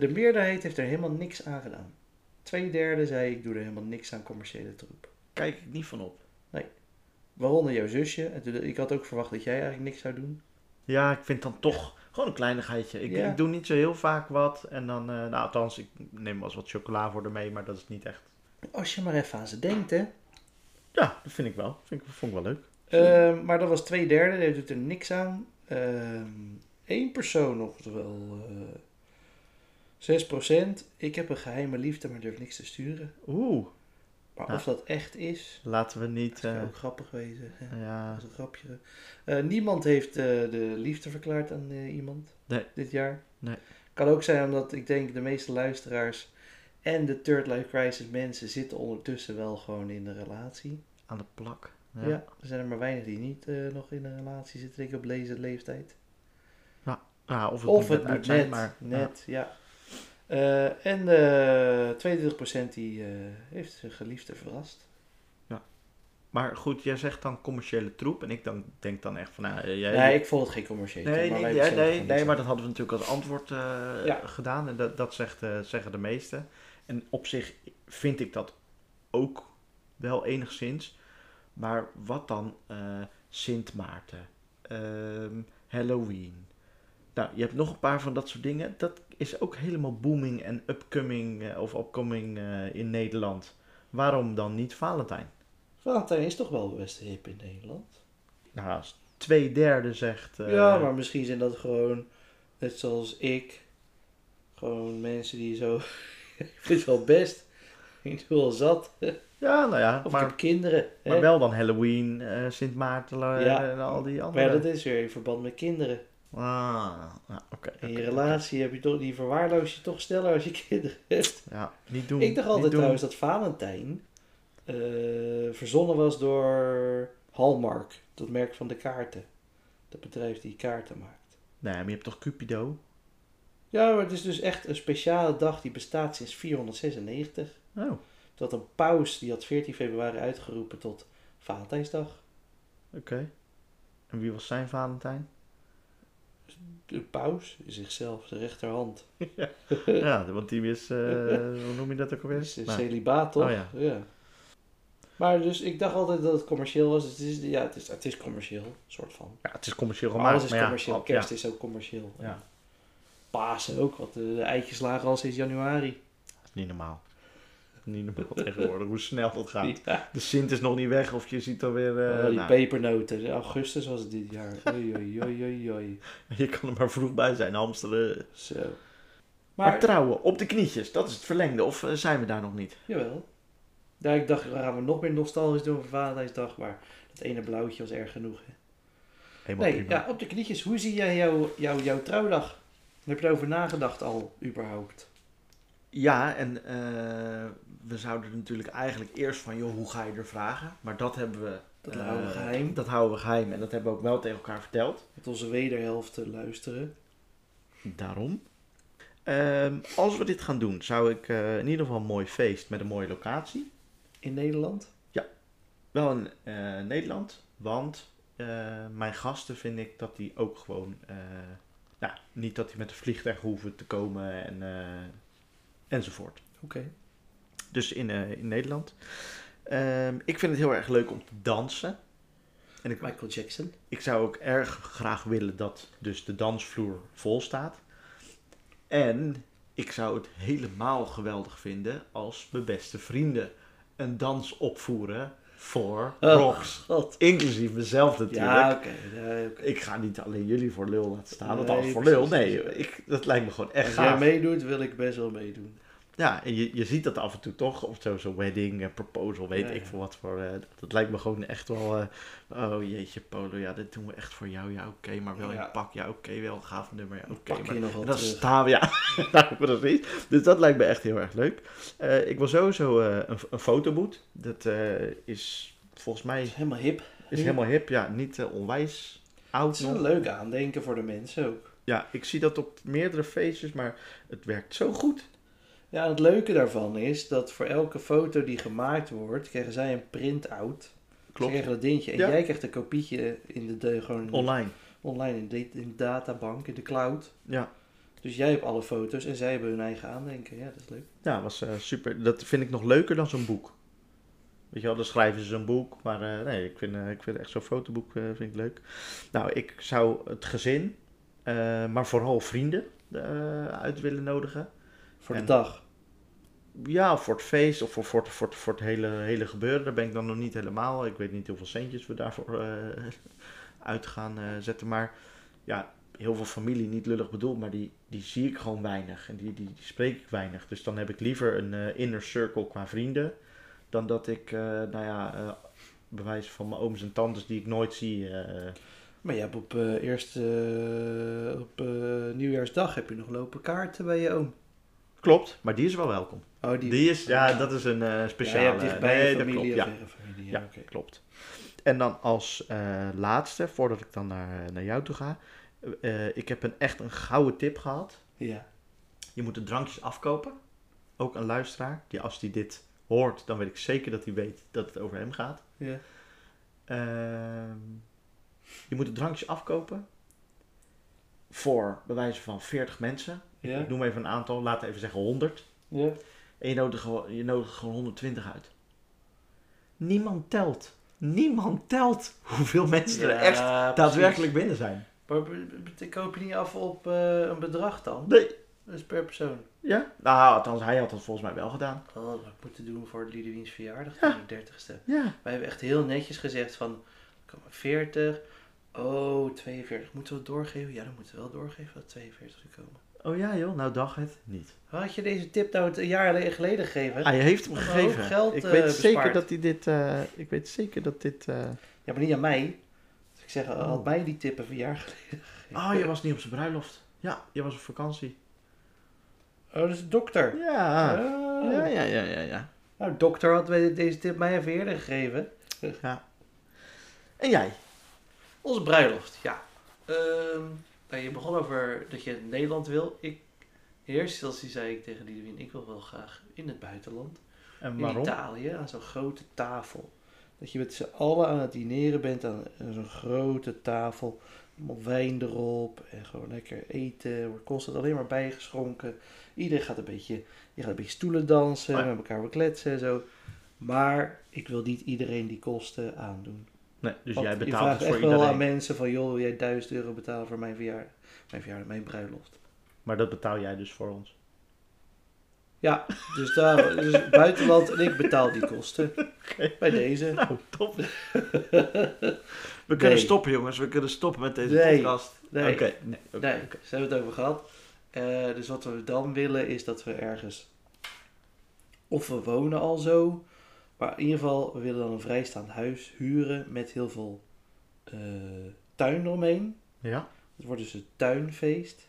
[SPEAKER 1] de meerderheid heeft er helemaal niks aan gedaan. Twee derde zei, ik doe er helemaal niks aan commerciële troep.
[SPEAKER 2] Kijk ik niet van op.
[SPEAKER 1] Waaronder jouw zusje. En toen- ik had ook verwacht dat jij eigenlijk niks zou doen.
[SPEAKER 2] Ja, ik vind dan toch gewoon een kleinigheidje. Ik,
[SPEAKER 1] Ja.
[SPEAKER 2] ik doe niet zo heel vaak wat. En dan, eh, nou althans, ik neem wel eens wat chocola voor ermee, maar dat is niet echt.
[SPEAKER 1] Als je maar even aan ze denkt, hè.
[SPEAKER 2] Ja, dat vind ik wel. Vind ik, vond ik wel leuk.
[SPEAKER 1] Ehm, maar dat was twee derde, die doet er niks aan. Eén persoon, oftewel eh 6%. Ik heb een geheime liefde, maar durf niks te sturen.
[SPEAKER 2] Oeh,
[SPEAKER 1] Maar
[SPEAKER 2] Ja.
[SPEAKER 1] of dat echt is,
[SPEAKER 2] laten we niet.
[SPEAKER 1] Dat
[SPEAKER 2] eh,
[SPEAKER 1] zou ook grappig wezen. hè.
[SPEAKER 2] ja,
[SPEAKER 1] Dat is een grapje. Eh, niemand heeft eh, de liefde verklaard aan eh, iemand
[SPEAKER 2] Nee.
[SPEAKER 1] dit jaar.
[SPEAKER 2] Nee.
[SPEAKER 1] Kan ook zijn omdat ik denk de meeste luisteraars en de Third Life Crisis mensen zitten ondertussen wel gewoon in een relatie.
[SPEAKER 2] aan de plak.
[SPEAKER 1] Ja. er zijn er maar weinig die niet eh, nog in een relatie zitten, denk ik, op deze leeftijd.
[SPEAKER 2] Ja, Nou, of het,
[SPEAKER 1] of het
[SPEAKER 2] moet uit
[SPEAKER 1] moet
[SPEAKER 2] zijn,
[SPEAKER 1] net,
[SPEAKER 2] maar
[SPEAKER 1] net, ja. Eh, en eh 22% die eh, heeft zijn geliefde verrast.
[SPEAKER 2] Maar goed, jij zegt dan commerciële troep. En ik dan, denk dan echt van, nou, eh, jij...
[SPEAKER 1] nee, ik vond het geen commerciële.
[SPEAKER 2] nee,
[SPEAKER 1] maar
[SPEAKER 2] nee,
[SPEAKER 1] wij
[SPEAKER 2] nee,
[SPEAKER 1] bestellen
[SPEAKER 2] nee,
[SPEAKER 1] gewoon
[SPEAKER 2] nee,
[SPEAKER 1] niks
[SPEAKER 2] maar dat hadden we natuurlijk als antwoord eh,
[SPEAKER 1] Ja.
[SPEAKER 2] gedaan. En dat, dat zegt, eh, zeggen de meesten. En op zich vind ik dat ook wel enigszins. Maar wat dan eh, Sint Maarten, ehm, Halloween. Nou, je hebt nog een paar van dat soort dingen. Dat is ook helemaal booming en upcoming eh, of upcoming eh, in Nederland. Waarom dan niet Valentijn?
[SPEAKER 1] Valentijn is toch wel best hip in Nederland?
[SPEAKER 2] Nou, als twee derde zegt. eh,
[SPEAKER 1] ja, maar misschien zijn dat gewoon, net zoals ik, gewoon mensen die zo... ik vind het wel best. Ik doe al zat.
[SPEAKER 2] ja, nou ja,
[SPEAKER 1] Of ik
[SPEAKER 2] maar,
[SPEAKER 1] heb kinderen. hè.
[SPEAKER 2] maar wel dan Halloween, eh, Sint Maarten eh,
[SPEAKER 1] Ja.
[SPEAKER 2] en al die
[SPEAKER 1] Maar
[SPEAKER 2] andere.
[SPEAKER 1] ja, dat is weer in verband met kinderen.
[SPEAKER 2] Ah, ja, oké.
[SPEAKER 1] In je
[SPEAKER 2] oké.
[SPEAKER 1] relatie heb je toch, die verwaarloos je toch sneller als je kinderen hebt.
[SPEAKER 2] Ja, niet doen.
[SPEAKER 1] ik dacht
[SPEAKER 2] niet
[SPEAKER 1] altijd
[SPEAKER 2] doen.
[SPEAKER 1] trouwens dat Valentijn eh, verzonnen was door Hallmark. Dat merk van de kaarten. Dat bedrijf die kaarten maakt.
[SPEAKER 2] Nee, maar je hebt toch Cupido?
[SPEAKER 1] Ja, maar het is dus echt een speciale dag die bestaat sinds 496.
[SPEAKER 2] Oh, oké.
[SPEAKER 1] Dat een paus die had 14 februari uitgeroepen tot Valentijnsdag.
[SPEAKER 2] En wie was zijn Valentijn?
[SPEAKER 1] De paus, zichzelf, de rechterhand.
[SPEAKER 2] ja, want die is, eh, hoe noem je dat ook alweer?
[SPEAKER 1] Dus een
[SPEAKER 2] Nou,
[SPEAKER 1] celibaat toch?
[SPEAKER 2] Oh ja.
[SPEAKER 1] Maar dus ik dacht altijd dat het commercieel was. Dus het is, ja, het is, het is commercieel, soort van.
[SPEAKER 2] ja, het is commercieel
[SPEAKER 1] Maar
[SPEAKER 2] gemaakt.
[SPEAKER 1] alles Oh, is
[SPEAKER 2] maar ja,
[SPEAKER 1] commercieel.
[SPEAKER 2] al-
[SPEAKER 1] Kerst
[SPEAKER 2] ja.
[SPEAKER 1] is ook commercieel.
[SPEAKER 2] Ja.
[SPEAKER 1] Pasen ook, want de, de eitjes lagen al sinds januari.
[SPEAKER 2] Dat is niet normaal. niet normaal tegenwoordig hoe snel dat gaat.
[SPEAKER 1] Ja.
[SPEAKER 2] De Sint is nog niet weg of je ziet dan weer... eh,
[SPEAKER 1] Oh, die
[SPEAKER 2] nou,
[SPEAKER 1] pepernoten. Augustus was het dit jaar. Oei, oei, oei, oei, oei.
[SPEAKER 2] je kan er maar vroeg bij zijn, hamsteren.
[SPEAKER 1] Zo.
[SPEAKER 2] Maar,
[SPEAKER 1] Maar,
[SPEAKER 2] trouwen, op de knietjes, dat is het verlengde. Of eh, zijn we daar nog niet?
[SPEAKER 1] jawel. Ja, ik dacht, we gaan we nog meer nostalgisch doen voor Valentijnsdag. Maar dat ene blauwtje was erg genoeg. Hè?
[SPEAKER 2] Helemaal
[SPEAKER 1] Nee,
[SPEAKER 2] prima.
[SPEAKER 1] ja, op de knietjes. Hoe zie jij jouw jou, jouw trouwdag? Heb je erover nagedacht al, überhaupt?
[SPEAKER 2] Ja, en eh, we zouden natuurlijk eigenlijk eerst van, joh, hoe ga je er vragen? Maar dat hebben we...
[SPEAKER 1] Dat
[SPEAKER 2] eh,
[SPEAKER 1] houden we geheim.
[SPEAKER 2] Dat houden we geheim en dat hebben we ook wel tegen elkaar verteld.
[SPEAKER 1] Met onze wederhelft te luisteren.
[SPEAKER 2] Daarom. Ehm, als we dit gaan doen, zou ik eh, in ieder geval een mooi feest met een mooie locatie.
[SPEAKER 1] In Nederland?
[SPEAKER 2] Wel in eh, Nederland, want eh, mijn gasten vind ik dat die ook gewoon... eh, nou, niet dat die met een vliegtuig hoeven te komen en, eh, enzovoort.
[SPEAKER 1] Oké.
[SPEAKER 2] Dus in, eh, in Nederland. Ehm, ik vind het heel erg leuk om te dansen. En ik,
[SPEAKER 1] Michael Jackson.
[SPEAKER 2] ik zou ook erg graag willen dat dus de dansvloer vol staat. En ik zou het helemaal geweldig vinden als mijn beste vrienden een dans opvoeren voor
[SPEAKER 1] Oh,
[SPEAKER 2] rocks.
[SPEAKER 1] God.
[SPEAKER 2] Inclusief mezelf natuurlijk.
[SPEAKER 1] Ja, oké. ja, oké.
[SPEAKER 2] Ik ga niet alleen jullie voor lul laten staan. want
[SPEAKER 1] Nee,
[SPEAKER 2] alles voor
[SPEAKER 1] precies,
[SPEAKER 2] lul. Nee,
[SPEAKER 1] precies.
[SPEAKER 2] ik, dat lijkt me gewoon echt
[SPEAKER 1] Als jij
[SPEAKER 2] gaaf.
[SPEAKER 1] meedoet, wil ik best wel meedoen.
[SPEAKER 2] Ja, en je, je ziet dat af en toe toch op zo'n zo'n wedding, en proposal, weet
[SPEAKER 1] Ja,
[SPEAKER 2] ik
[SPEAKER 1] ja.
[SPEAKER 2] veel wat voor. eh, dat, dat lijkt me gewoon echt wel. eh, oh jeetje, Polo, ja, dit doen we echt voor jou. Ja, oké, maar wel
[SPEAKER 1] Ja.
[SPEAKER 2] in pak. Ja, oké, wel een gaaf nummer. Ja, oké.
[SPEAKER 1] Pak
[SPEAKER 2] maar-
[SPEAKER 1] je nog wel
[SPEAKER 2] en dan
[SPEAKER 1] terug.
[SPEAKER 2] staan we, ja, nou, precies. Dus dat lijkt me echt heel erg leuk. Eh, ik wil sowieso eh, een, een fotoboot. Dat eh, is volgens mij
[SPEAKER 1] is helemaal hip.
[SPEAKER 2] is
[SPEAKER 1] Ja.
[SPEAKER 2] helemaal hip. Ja, niet eh, onwijs
[SPEAKER 1] Het
[SPEAKER 2] oud
[SPEAKER 1] is wel
[SPEAKER 2] nog.
[SPEAKER 1] een leuk aandenken voor de mensen ook.
[SPEAKER 2] Ja, ik zie dat op meerdere feestjes, maar het werkt zo goed.
[SPEAKER 1] Ja, het leuke daarvan is dat voor elke foto die gemaakt wordt, krijgen zij een print-out. Ze
[SPEAKER 2] Klopt.
[SPEAKER 1] krijgen dat dingetje. En
[SPEAKER 2] Ja.
[SPEAKER 1] jij krijgt een kopietje in de, de- gewoon
[SPEAKER 2] Online.
[SPEAKER 1] online in de, in de databank, in de cloud.
[SPEAKER 2] Ja.
[SPEAKER 1] Dus jij hebt alle foto's en zij hebben hun eigen aandenken. Ja, dat is leuk.
[SPEAKER 2] Ja, was eh, super. Dat vind ik nog leuker dan zo'n boek. Weet je wel, dan schrijven ze een boek. Maar eh, nee, ik vind, eh, ik vind echt zo'n fotoboek eh, vind ik leuk. Nou, ik zou het gezin, eh, maar vooral vrienden eh, uit willen nodigen.
[SPEAKER 1] Voor
[SPEAKER 2] En-
[SPEAKER 1] de dag.
[SPEAKER 2] Ja, voor het feest of voor, voor, voor, voor het hele, hele gebeuren. Daar ben ik dan nog niet helemaal. Ik weet niet hoeveel centjes we daarvoor eh, uit gaan eh, zetten. Maar ja, heel veel familie, niet lullig bedoeld, maar die, die zie ik gewoon weinig. En die, die, die spreek ik weinig. Dus dan heb ik liever een eh, inner circle qua vrienden. Dan dat ik, eh, nou ja, eh bij wijze van mijn ooms en tantes die ik nooit zie. eh,
[SPEAKER 1] Maar je hebt op, eh eerst, eh, op eh, nieuwjaarsdag heb je nog lopen kaarten bij je oom.
[SPEAKER 2] klopt, maar die is wel welkom.
[SPEAKER 1] Oh, die,
[SPEAKER 2] Die is, ja, dat is een eh speciale.
[SPEAKER 1] Ja, je hebt dichtbij
[SPEAKER 2] Nee,
[SPEAKER 1] je
[SPEAKER 2] dat
[SPEAKER 1] familie
[SPEAKER 2] klopt,
[SPEAKER 1] of
[SPEAKER 2] ja.
[SPEAKER 1] eigen familie. Ja,
[SPEAKER 2] Ja,
[SPEAKER 1] oké.
[SPEAKER 2] klopt. En dan als eh, laatste, voordat ik dan naar, naar jou toe ga. eh, ik heb een, echt een gouden tip gehad.
[SPEAKER 1] Ja.
[SPEAKER 2] Je moet de drankjes afkopen. Ook een luisteraar. Die als die dit hoort, dan weet ik zeker dat hij weet dat het over hem gaat.
[SPEAKER 1] Ja.
[SPEAKER 2] Ehm, je moet de drankjes afkopen. Voor bij wijze van 40 mensen.
[SPEAKER 1] Ja.
[SPEAKER 2] Ik noem even een aantal. Laten we even zeggen 100.
[SPEAKER 1] ja.
[SPEAKER 2] En je nodigt, gewoon- je nodigt gewoon 120 uit. Niemand telt. Niemand telt hoeveel mensen er
[SPEAKER 1] Ja,
[SPEAKER 2] echt
[SPEAKER 1] precies.
[SPEAKER 2] daadwerkelijk binnen zijn.
[SPEAKER 1] Maar b- b- ik koop je niet af op eh, een bedrag dan?
[SPEAKER 2] Nee.
[SPEAKER 1] Dus per persoon.
[SPEAKER 2] Ja? Nou, althans, hij had dat volgens mij wel gedaan.
[SPEAKER 1] Oh, dat had ik moeten doen voor Lidewiens verjaardag,
[SPEAKER 2] Ja.
[SPEAKER 1] de 30ste.
[SPEAKER 2] Ja.
[SPEAKER 1] Wij hebben echt heel netjes gezegd van, er komen 40, oh 42. Moeten we het doorgeven? Ja, dan moeten we wel doorgeven dat 42 er komen.
[SPEAKER 2] Oh ja, joh. Nou, dacht het niet.
[SPEAKER 1] Had je deze tip nou een jaar geleden gegeven?
[SPEAKER 2] Hij heeft hem
[SPEAKER 1] Een hoop
[SPEAKER 2] Ah, gegeven.
[SPEAKER 1] geld,
[SPEAKER 2] ik
[SPEAKER 1] eh,
[SPEAKER 2] weet zeker
[SPEAKER 1] bespaard.
[SPEAKER 2] dat hij dit. eh, ik weet zeker dat dit. eh,
[SPEAKER 1] Ja, maar niet aan mij. Dus ik zeg,
[SPEAKER 2] Oh.
[SPEAKER 1] had mij die tip een jaar geleden.
[SPEAKER 2] Oh, je was niet op zijn bruiloft. Ja, je was op vakantie.
[SPEAKER 1] Oh, dat is de dokter.
[SPEAKER 2] Ja.
[SPEAKER 1] Oh.
[SPEAKER 2] Ah. Ja, ja, ja, ja, ja.
[SPEAKER 1] Nou, dokter had wij- deze tip mij even eerder gegeven.
[SPEAKER 2] En jij?
[SPEAKER 1] Onze bruiloft, ja. Ehm, nou, je begon over dat je in Nederland wil. Ik, in eerste instantie zei ik tegen Didewin, ik wil wel graag in het buitenland.
[SPEAKER 2] En
[SPEAKER 1] In Italië, aan zo'n grote tafel. Dat je met z'n allen aan het dineren bent aan aan zo'n grote tafel. Allemaal wijn erop en gewoon lekker eten. Er wordt constant alleen maar bijgeschonken. Iedereen gaat een beetje, je gaat een beetje stoelen dansen,
[SPEAKER 2] Oh ja.
[SPEAKER 1] met elkaar bekletsen en zo. Maar ik wil niet iedereen die kosten aandoen.
[SPEAKER 2] Nee, dus
[SPEAKER 1] Want
[SPEAKER 2] jij
[SPEAKER 1] je
[SPEAKER 2] betaalt
[SPEAKER 1] vraagt
[SPEAKER 2] het voor
[SPEAKER 1] echt wel aan
[SPEAKER 2] iedereen.
[SPEAKER 1] mensen van, joh, wil jij 1000 euro betalen voor mijn verjaardag? Mijn verjaardag, mijn bruiloft.
[SPEAKER 2] Maar dat betaal jij dus voor ons.
[SPEAKER 1] Ja, dus, daar, dus buitenland en ik betaal die kosten. Bij deze.
[SPEAKER 2] Nou, top. We
[SPEAKER 1] Nee.
[SPEAKER 2] kunnen stoppen, jongens. We kunnen stoppen met deze
[SPEAKER 1] Nee.
[SPEAKER 2] podcast.
[SPEAKER 1] Nee.
[SPEAKER 2] Oké, nee. oké.
[SPEAKER 1] Nee, daar hebben we het over gehad. Eh, dus wat we dan willen is dat we ergens. Of we wonen al zo. Maar in ieder geval, we willen dan een vrijstaand huis huren met heel veel eh, tuin omheen.
[SPEAKER 2] Ja?
[SPEAKER 1] Het wordt dus een tuinfeest.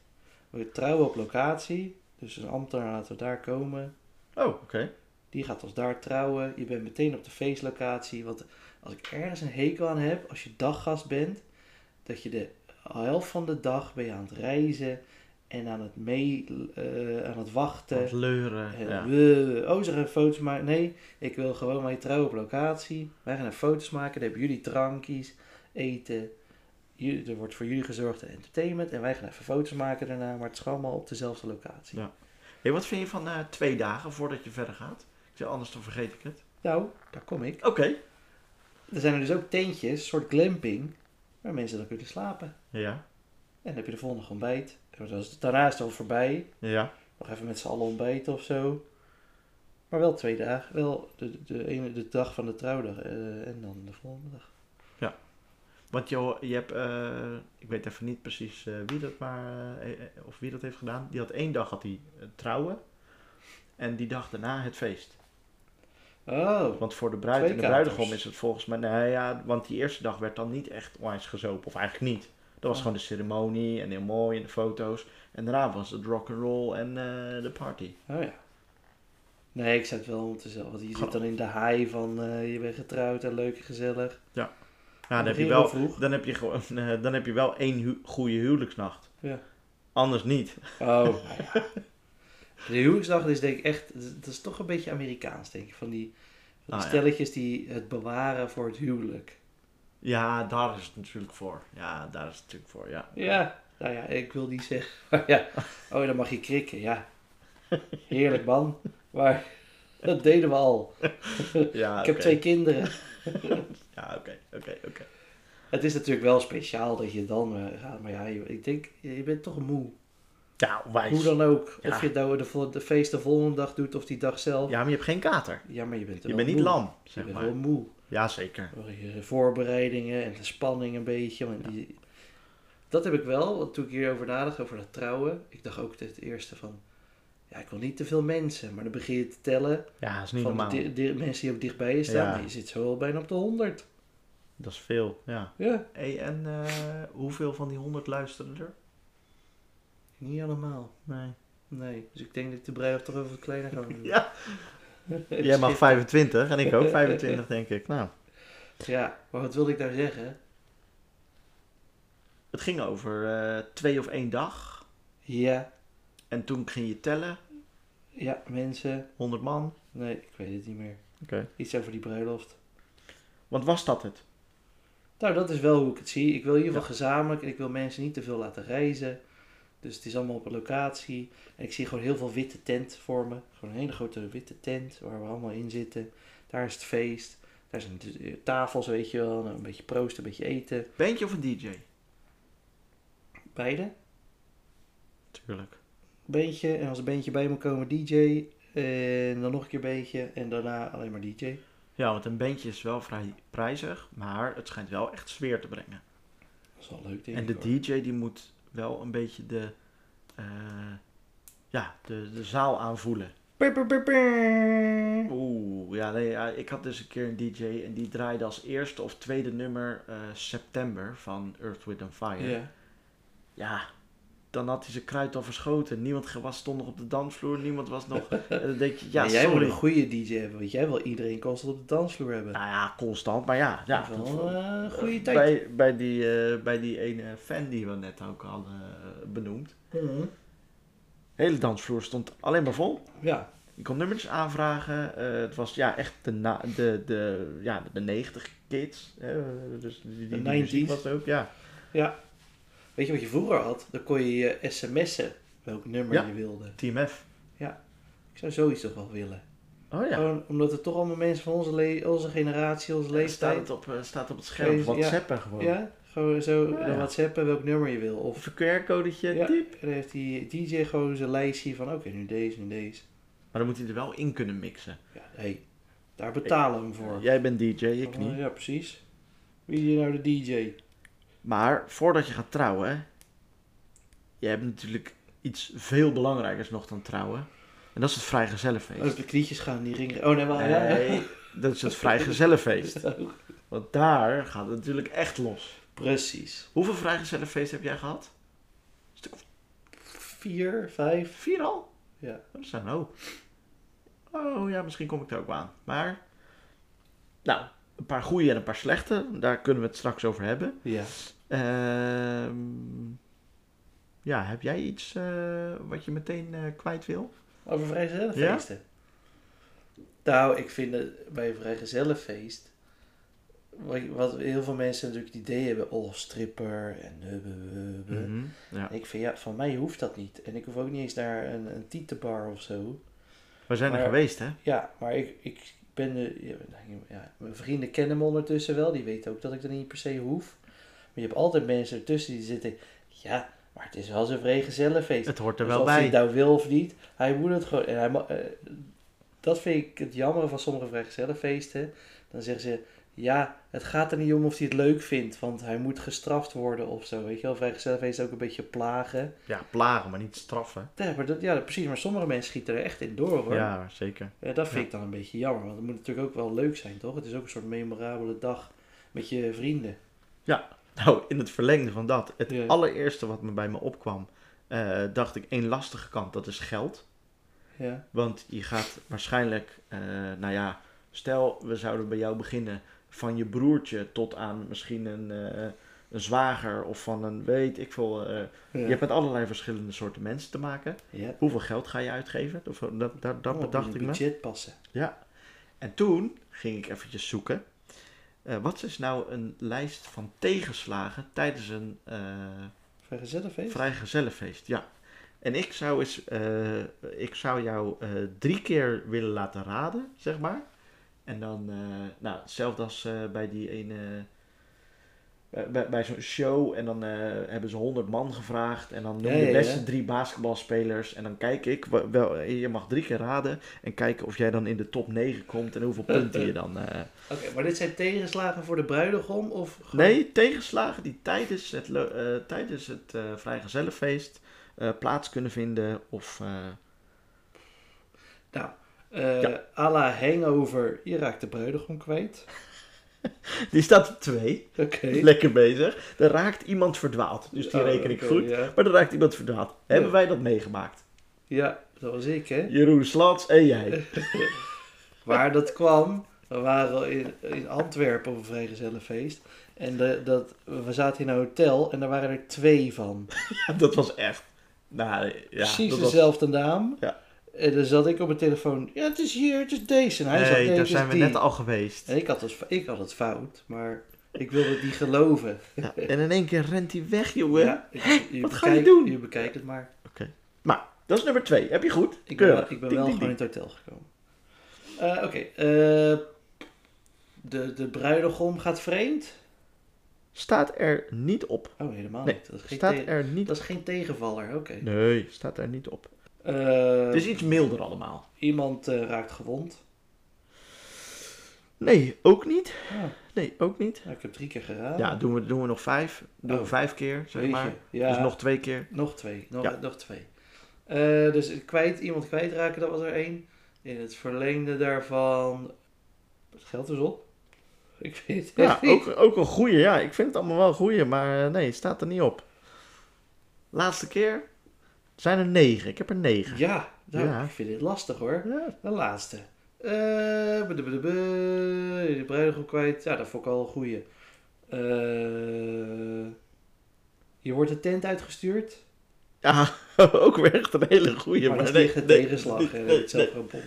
[SPEAKER 1] We trouwen op locatie. Dus een ambtenaar laten we daar komen.
[SPEAKER 2] Oh, oké.
[SPEAKER 1] Die gaat ons daar trouwen. Je bent meteen op de feestlocatie. Want als ik ergens een hekel aan heb, als je daggast bent, dat je de helft van de dag ben je aan het reizen en aan het mee, eh, aan het wachten.
[SPEAKER 2] Wat leuren.
[SPEAKER 1] En
[SPEAKER 2] Ja.
[SPEAKER 1] we- oh, ze gaan foto's maken. Nee, ik wil gewoon mijn trouwen op locatie. Wij gaan er foto's maken. Dan hebben jullie drankjes, eten. Jullie- Er wordt voor jullie gezorgd en entertainment. En wij gaan even foto's maken daarna. Maar het is allemaal op dezelfde locatie.
[SPEAKER 2] Ja. Hey, wat vind je van eh, twee dagen voordat je verder gaat? Ik zeg, anders dan vergeet ik het.
[SPEAKER 1] Nou, daar kom ik.
[SPEAKER 2] Oké.
[SPEAKER 1] Er zijn er dus ook tentjes, een soort glamping, waar mensen dan kunnen slapen.
[SPEAKER 2] Ja.
[SPEAKER 1] En dan heb je de volgende ontbijt. En dan is- Daarna is het al voorbij.
[SPEAKER 2] Ja.
[SPEAKER 1] Nog even met z'n allen ontbijten of zo. Maar wel twee dagen. Wel de, de, ene, de dag van de trouwdag eh, en dan de volgende dag.
[SPEAKER 2] Want joh, je hebt, eh, ik weet even niet precies eh, wie dat maar, eh, eh, of wie dat heeft gedaan. Die had één dag had hij eh, trouwen. En die dag daarna het feest.
[SPEAKER 1] Oh,
[SPEAKER 2] Want voor de bruid
[SPEAKER 1] Twee
[SPEAKER 2] en de bruidegom
[SPEAKER 1] katers.
[SPEAKER 2] is het volgens mij, nou ja, want die eerste dag werd dan niet echt onwijs gezopen. Of eigenlijk niet. Dat was
[SPEAKER 1] Oh.
[SPEAKER 2] gewoon de ceremonie en heel mooi en de foto's. En daarna was het rock'n'roll en eh, de party.
[SPEAKER 1] oh ja. Nee, ik zou het wel moeten zelf. Want je zit dan in de haai van eh, je bent getrouwd en leuk en gezellig.
[SPEAKER 2] Ja, Nou, dan heb je
[SPEAKER 1] begin
[SPEAKER 2] wel
[SPEAKER 1] vroeg.
[SPEAKER 2] Dan heb je, gewoon, eh, dan heb je wel één hu- goede huwelijksnacht.
[SPEAKER 1] Ja.
[SPEAKER 2] Anders niet.
[SPEAKER 1] Oh. De huwelijksdag is denk ik echt, dat is toch een beetje Amerikaans denk ik. Van die, van die
[SPEAKER 2] Ah, ja.
[SPEAKER 1] stelletjes die het bewaren voor het huwelijk.
[SPEAKER 2] Ja, daar is het natuurlijk voor. Ja, daar is het natuurlijk voor, ja.
[SPEAKER 1] Ja, nou ja, ik wil niet zeggen. Maar ja, oh, dan mag je krikken, ja. Heerlijk man. Maar dat deden we al.
[SPEAKER 2] Ja,
[SPEAKER 1] Ik heb twee kinderen.
[SPEAKER 2] Ja, oké, oké, oké.
[SPEAKER 1] Het is natuurlijk wel speciaal dat je dan eh, gaat. Maar ja, je- ik denk, je bent toch moe.
[SPEAKER 2] Ja, Nou, wijs.
[SPEAKER 1] Hoe dan ook.
[SPEAKER 2] Ja.
[SPEAKER 1] Of je het nou de, vol- de feest de volgende dag doet of die dag zelf. Ja,
[SPEAKER 2] Ja, maar je hebt geen kater.
[SPEAKER 1] maar je bent
[SPEAKER 2] Je
[SPEAKER 1] wel
[SPEAKER 2] bent niet
[SPEAKER 1] moe.
[SPEAKER 2] lam,
[SPEAKER 1] Je
[SPEAKER 2] zeg
[SPEAKER 1] bent
[SPEAKER 2] maar.
[SPEAKER 1] wel moe.
[SPEAKER 2] Ja, zeker.
[SPEAKER 1] Je voorbereidingen en de spanning een beetje. Want die, dat heb ik wel, want toen ik hierover nadacht, over dat trouwen. Ik dacht ook het eerste van, ja, ik wil niet te veel mensen. Maar dan begin je te tellen
[SPEAKER 2] Ja, dat is niet
[SPEAKER 1] van de,
[SPEAKER 2] normaal.
[SPEAKER 1] di- di- mensen die ook dichtbij je staan.
[SPEAKER 2] Ja.
[SPEAKER 1] maar Je zit zo al bijna op de 100.
[SPEAKER 2] Dat is veel, ja.
[SPEAKER 1] Ja,
[SPEAKER 2] Hey, en eh, hoeveel van die honderd luisteren er?
[SPEAKER 1] niet allemaal.
[SPEAKER 2] Nee.
[SPEAKER 1] Nee, dus ik denk dat ik de bruiloft toch even wat kleiner ga doen.
[SPEAKER 2] Ja, jij mag 25 en ik ook 25, denk ik. Nou,
[SPEAKER 1] Ja, maar wat wilde ik nou zeggen?
[SPEAKER 2] het ging over eh, twee of één dag.
[SPEAKER 1] Ja,
[SPEAKER 2] En toen ging je tellen,
[SPEAKER 1] ja, mensen.
[SPEAKER 2] 100 man.
[SPEAKER 1] Nee, ik weet het niet meer.
[SPEAKER 2] Oké.
[SPEAKER 1] Iets over die bruiloft.
[SPEAKER 2] Want was dat het?
[SPEAKER 1] Nou, dat is wel hoe ik het zie. Ik wil in ieder geval gezamenlijk en ik wil mensen niet te veel laten reizen. Dus het is allemaal op een locatie. En ik zie gewoon heel veel witte tent voor me. Gewoon een hele grote witte tent waar we allemaal in zitten. Daar is het feest. Daar zijn de- tafels, weet je wel. Nou, Een beetje proosten, een beetje eten.
[SPEAKER 2] Bandje of een DJ?
[SPEAKER 1] Beide.
[SPEAKER 2] Tuurlijk.
[SPEAKER 1] Beentje. En als een beentje bij moet komen, DJ. En dan nog een keer beentje. En daarna alleen maar DJ.
[SPEAKER 2] Ja, want een bandje is wel vrij prijzig, maar het schijnt wel echt sfeer te brengen.
[SPEAKER 1] Dat is wel leuk, denk
[SPEAKER 2] en
[SPEAKER 1] ik.
[SPEAKER 2] de
[SPEAKER 1] hoor.
[SPEAKER 2] DJ die moet wel een beetje de, eh, ja, de, de zaal aanvoelen.
[SPEAKER 1] Pip, pip, pip, pip.
[SPEAKER 2] Oeh, ja, nee, ja, ik had dus een keer een DJ en die draaide als eerste of tweede nummer eh, September van Earth, Wind and Fire.
[SPEAKER 1] Ja.
[SPEAKER 2] Ja, dan had hij zijn kruid al verschoten. Niemand ge- was, stond nog op de dansvloer, niemand was nog... en dan denk je, ja,
[SPEAKER 1] En jij moet
[SPEAKER 2] sorry.
[SPEAKER 1] een goede DJ hebben, want jij wil iedereen constant op de dansvloer hebben.
[SPEAKER 2] Nou ja, constant, maar ja. ja
[SPEAKER 1] dat is wel eh, een goede tijd.
[SPEAKER 2] Bij, bij, die, eh, bij die ene fan die we net ook hadden eh, benoemd. De hele dansvloer stond alleen maar vol.
[SPEAKER 1] Ja,
[SPEAKER 2] Je kon nummertjes aanvragen. Eh, het was ja, echt de, na, de, de, ja, de 90 kids. Hè? Dus die, die,
[SPEAKER 1] De
[SPEAKER 2] die muziek
[SPEAKER 1] 90s.
[SPEAKER 2] was ook, ja.
[SPEAKER 1] weet je wat je vroeger had? Dan kon je je sms'en welk nummer
[SPEAKER 2] Ja.
[SPEAKER 1] je wilde.
[SPEAKER 2] Team F.
[SPEAKER 1] Ik zou zoiets toch wel willen.
[SPEAKER 2] Oh ja.
[SPEAKER 1] Gewoon omdat er toch allemaal mensen van onze, le- onze generatie, onze
[SPEAKER 2] Leeftijd. Staat,
[SPEAKER 1] leeftijd...
[SPEAKER 2] het op, eh, staat op het scherm.
[SPEAKER 1] Deze- ja.
[SPEAKER 2] WhatsAppen gewoon.
[SPEAKER 1] Ja, gewoon zo
[SPEAKER 2] Ja,
[SPEAKER 1] dan
[SPEAKER 2] ja.
[SPEAKER 1] whatsappen welk nummer je wil. Of
[SPEAKER 2] Of een QR-codetje.
[SPEAKER 1] Ja.
[SPEAKER 2] Diep.
[SPEAKER 1] en dan heeft die DJ gewoon zijn lijstje van oké, nu deze, nu deze.
[SPEAKER 2] Maar dan moet hij er wel in kunnen mixen.
[SPEAKER 1] Ja, nee. Daar betalen we hem voor.
[SPEAKER 2] Jij bent DJ, ik niet.
[SPEAKER 1] Oh, Ja, precies. Wie is hier nou de DJ?
[SPEAKER 2] Maar voordat je gaat trouwen, hè, je hebt natuurlijk iets veel belangrijkers nog dan trouwen. En dat is het
[SPEAKER 1] Oh, dus
[SPEAKER 2] vrijgezellenfeest.
[SPEAKER 1] de knietjes gaan niet ringen. Oh, nee, maar... ja, ja.
[SPEAKER 2] Nee, dat is het vrijgezellenfeest. Want daar gaat het natuurlijk echt los.
[SPEAKER 1] Precies.
[SPEAKER 2] Hoeveel vrijgezellenfeest heb jij gehad? Een stuk of
[SPEAKER 1] Vier, vijf.
[SPEAKER 2] vier al?
[SPEAKER 1] Ja.
[SPEAKER 2] Dat zijn ook. Oh ja, misschien kom ik er ook wel aan. Maar, nou, een paar goede en een paar slechte. Daar kunnen we het straks over hebben.
[SPEAKER 1] Ja.
[SPEAKER 2] Ehm, ja, heb jij iets eh, wat je meteen eh, kwijt wil?
[SPEAKER 1] Over vrijgezellenfeesten. Nou, ik vind het bij een vrijgezellenfeest... Wat, wat heel veel mensen natuurlijk het idee hebben... Oh, stripper en... hubbe, hubbe.
[SPEAKER 2] Mhm, ja.
[SPEAKER 1] Ik vind, ja, van mij hoeft dat niet. En ik hoef ook niet eens naar een, een tietenbar of zo.
[SPEAKER 2] We zijn er
[SPEAKER 1] Maar-
[SPEAKER 2] geweest, hè?
[SPEAKER 1] Ja, maar ik, ik ben de. ja, ja, mijn vrienden kennen me ondertussen wel. Die weten ook dat ik er niet per se hoef. Maar je hebt altijd mensen ertussen die zitten. Ja, maar het is wel zijn vrijgezellenfeest.
[SPEAKER 2] Het hoort er
[SPEAKER 1] Dus
[SPEAKER 2] wel
[SPEAKER 1] of hij
[SPEAKER 2] bij.
[SPEAKER 1] het nou wil of niet, hij moet het gewoon. En hij, ma- eh, dat vind ik het jammer van sommige vrijgezellenfeesten. Dan zeggen ze. Ja, het gaat er niet om of hij het leuk vindt, want hij moet gestraft worden of zo. Weet je wel, vrijgezellenfeest is ook een beetje plagen.
[SPEAKER 2] Ja, plagen, maar niet straffen.
[SPEAKER 1] Ja, maar dat, ja, precies, maar sommige mensen schieten er echt in door hoor.
[SPEAKER 2] Ja, zeker.
[SPEAKER 1] Ja, dat vind ik dan een beetje jammer, want het moet natuurlijk ook wel leuk zijn, toch? Het is ook een soort memorabele dag met je vrienden.
[SPEAKER 2] Nou, in het verlengde van dat. Het
[SPEAKER 1] Ja.
[SPEAKER 2] allereerste wat me bij me opkwam, eh, dacht ik één lastige kant, dat is geld.
[SPEAKER 1] Ja,
[SPEAKER 2] Want je gaat waarschijnlijk, eh, nou ja, stel we zouden bij jou beginnen van je broertje tot aan misschien een, eh, een zwager of van een weet ik veel. eh,
[SPEAKER 1] ja.
[SPEAKER 2] Je hebt met allerlei verschillende soorten mensen te maken.
[SPEAKER 1] ja.
[SPEAKER 2] Hoeveel geld ga je uitgeven? Of, eh, dat dat, dat
[SPEAKER 1] Oh,
[SPEAKER 2] bedacht
[SPEAKER 1] moet
[SPEAKER 2] ik
[SPEAKER 1] een
[SPEAKER 2] me.
[SPEAKER 1] budget passen.
[SPEAKER 2] En toen ging ik eventjes zoeken. eh, wat is nou een lijst van tegenslagen tijdens een eh
[SPEAKER 1] Vrijgezellenfeest?
[SPEAKER 2] vrijgezellenfeest? Ja. En ik zou, eens, eh, ik zou jou eh, drie keer willen laten raden, zeg maar. En dan, eh, nou, hetzelfde als eh, bij die ene... bij- Bij, bij zo'n show en dan eh, hebben ze honderd man gevraagd en dan noem
[SPEAKER 1] Ja,
[SPEAKER 2] je
[SPEAKER 1] ja,
[SPEAKER 2] de beste
[SPEAKER 1] ja.
[SPEAKER 2] drie basketbalspelers en dan kijk ik, wa- wel, eh, je mag drie keer raden en kijken of jij dan in de top 9 komt en hoeveel punten je dan... eh,
[SPEAKER 1] Oké, maar dit zijn tegenslagen voor de bruidegom of gewoon-
[SPEAKER 2] Nee, tegenslagen die tijdens het, lo- eh, tijdens het eh, vrijgezellenfeest eh, plaats kunnen vinden. Of, eh,
[SPEAKER 1] Nou, eh à la hangover, je raakt de bruidegom kwijt.
[SPEAKER 2] die staat op twee.
[SPEAKER 1] Oké.
[SPEAKER 2] Lekker bezig. Er raakt iemand verdwaald. Dus die
[SPEAKER 1] Oh,
[SPEAKER 2] reken ik
[SPEAKER 1] oké,
[SPEAKER 2] goed.
[SPEAKER 1] Ja.
[SPEAKER 2] Maar er raakt iemand verdwaald. Hebben wij dat meegemaakt?
[SPEAKER 1] Ja, dat was ik, hè?
[SPEAKER 2] Jeroen Slats en jij.
[SPEAKER 1] Waar dat kwam, we waren in, in Antwerpen op een vrijgezellenfeest. En de, dat, we zaten in een hotel en daar waren er twee van.
[SPEAKER 2] dat was echt. Nou, ja,
[SPEAKER 1] Precies
[SPEAKER 2] dat was-
[SPEAKER 1] dezelfde naam.
[SPEAKER 2] Ja.
[SPEAKER 1] En dan zat ik op mijn telefoon. Ja, het is hier, het is deze. En hij zat,
[SPEAKER 2] Nee,
[SPEAKER 1] nee,
[SPEAKER 2] daar
[SPEAKER 1] het is
[SPEAKER 2] zijn we
[SPEAKER 1] die.
[SPEAKER 2] net al geweest.
[SPEAKER 1] En ik had, het, ik had het fout, maar ik wilde het niet geloven.
[SPEAKER 2] Ja, en in één keer rent hij weg, jongen.
[SPEAKER 1] Ja, ik-
[SPEAKER 2] wat
[SPEAKER 1] bekijkt-
[SPEAKER 2] ga je doen?
[SPEAKER 1] Je bekijkt het maar.
[SPEAKER 2] Dat is nummer twee. Heb je goed?
[SPEAKER 1] Ik ben,
[SPEAKER 2] Keurig.
[SPEAKER 1] wel- ik ben
[SPEAKER 2] Ding,
[SPEAKER 1] wel
[SPEAKER 2] ding,
[SPEAKER 1] gewoon
[SPEAKER 2] ding.
[SPEAKER 1] in het hotel gekomen. Eh, Oké, eh, de, de bruidegom gaat vreemd?
[SPEAKER 2] Staat er niet op.
[SPEAKER 1] Oh, helemaal
[SPEAKER 2] Nee,
[SPEAKER 1] niet. Dat is geen,
[SPEAKER 2] Staat
[SPEAKER 1] tegen-
[SPEAKER 2] er niet
[SPEAKER 1] dat is geen tegenvaller, oké.
[SPEAKER 2] Nee, Dus staat er niet op.
[SPEAKER 1] Eh,
[SPEAKER 2] Het is iets milder allemaal.
[SPEAKER 1] Iemand eh, raakt gewond.
[SPEAKER 2] Nee, ook niet.
[SPEAKER 1] Ah,
[SPEAKER 2] Nee, ook niet.
[SPEAKER 1] nou, ik heb drie keer geraden.
[SPEAKER 2] Ja, doen we, doen we nog vijf. Doen we
[SPEAKER 1] Oh.
[SPEAKER 2] vijf keer, zeg
[SPEAKER 1] Jeetje,
[SPEAKER 2] maar.
[SPEAKER 1] ja.
[SPEAKER 2] Dus nog twee keer.
[SPEAKER 1] Nog twee, nog,
[SPEAKER 2] Ja.
[SPEAKER 1] nog twee. Eh, dus kwijt, iemand kwijtraken, dat was er één. In het verlengde daarvan... Het geld is op. Ik weet het
[SPEAKER 2] Ja,
[SPEAKER 1] echt niet.
[SPEAKER 2] ook, ook een goeie. Ja, ik vind het allemaal wel een goeie, maar eh, nee, het staat er niet op. Laatste keer zijn er negen. Ik heb er negen.
[SPEAKER 1] Ja, nou,
[SPEAKER 2] Ja.
[SPEAKER 1] ik vind dit lastig hoor.
[SPEAKER 2] Ja.
[SPEAKER 1] De laatste. Eh, bedubbedubbed, de bruidegom kwijt. Ja, dat vond ik al een goeie. Eh, je wordt de tent uitgestuurd.
[SPEAKER 2] Ja, ook weer echt een hele goeie.
[SPEAKER 1] maar dat is
[SPEAKER 2] nee,
[SPEAKER 1] tegen
[SPEAKER 2] nee,
[SPEAKER 1] tegenslag.
[SPEAKER 2] nee,
[SPEAKER 1] hè, dat
[SPEAKER 2] nee,
[SPEAKER 1] is zelf
[SPEAKER 2] nee.
[SPEAKER 1] een bom.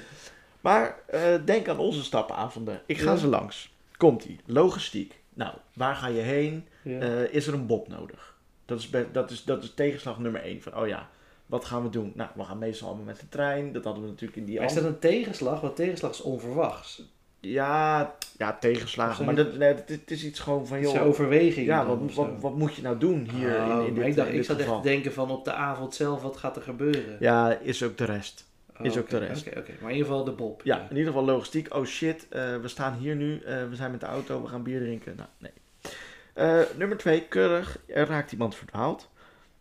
[SPEAKER 2] Maar eh, denk aan onze stappenavonden. Ik ga
[SPEAKER 1] Ja.
[SPEAKER 2] ze langs. Komt-ie. Logistiek. Nou, waar ga je heen?
[SPEAKER 1] Ja.
[SPEAKER 2] Eh, is er een bob nodig? Dat is, be- dat, is, dat is tegenslag nummer 1. Van, oh ja, wat gaan we doen? Nou, we gaan meestal allemaal met de trein. Dat hadden we natuurlijk in die
[SPEAKER 1] Maar is
[SPEAKER 2] andere-
[SPEAKER 1] dat een tegenslag? Want tegenslag is onverwachts.
[SPEAKER 2] Ja, ja, tegenslagen.
[SPEAKER 1] Of
[SPEAKER 2] Maar
[SPEAKER 1] zijn-
[SPEAKER 2] dat, nee, dat- het is iets gewoon van,
[SPEAKER 1] Het zijn
[SPEAKER 2] joh...
[SPEAKER 1] overwegingen.
[SPEAKER 2] Ja,
[SPEAKER 1] dan
[SPEAKER 2] wat,
[SPEAKER 1] of zo.
[SPEAKER 2] wat, wat moet je nou doen hier
[SPEAKER 1] Oh,
[SPEAKER 2] in, in
[SPEAKER 1] maar
[SPEAKER 2] dit,
[SPEAKER 1] ik, dacht,
[SPEAKER 2] in
[SPEAKER 1] ik
[SPEAKER 2] dit
[SPEAKER 1] zat echt
[SPEAKER 2] geval?
[SPEAKER 1] te denken van op de avond zelf, wat gaat er gebeuren?
[SPEAKER 2] Ja, is ook de rest.
[SPEAKER 1] Oh,
[SPEAKER 2] Is ook
[SPEAKER 1] oké,
[SPEAKER 2] terrorist.
[SPEAKER 1] Oké, oké. Maar in ieder geval de Bob.
[SPEAKER 2] Ja, in ieder geval logistiek. Oh shit, eh, we staan hier nu. eh, we zijn met de auto, we gaan bier drinken. Nou, nee. Eh, nummer twee, keurig. Er raakt iemand verdwaald.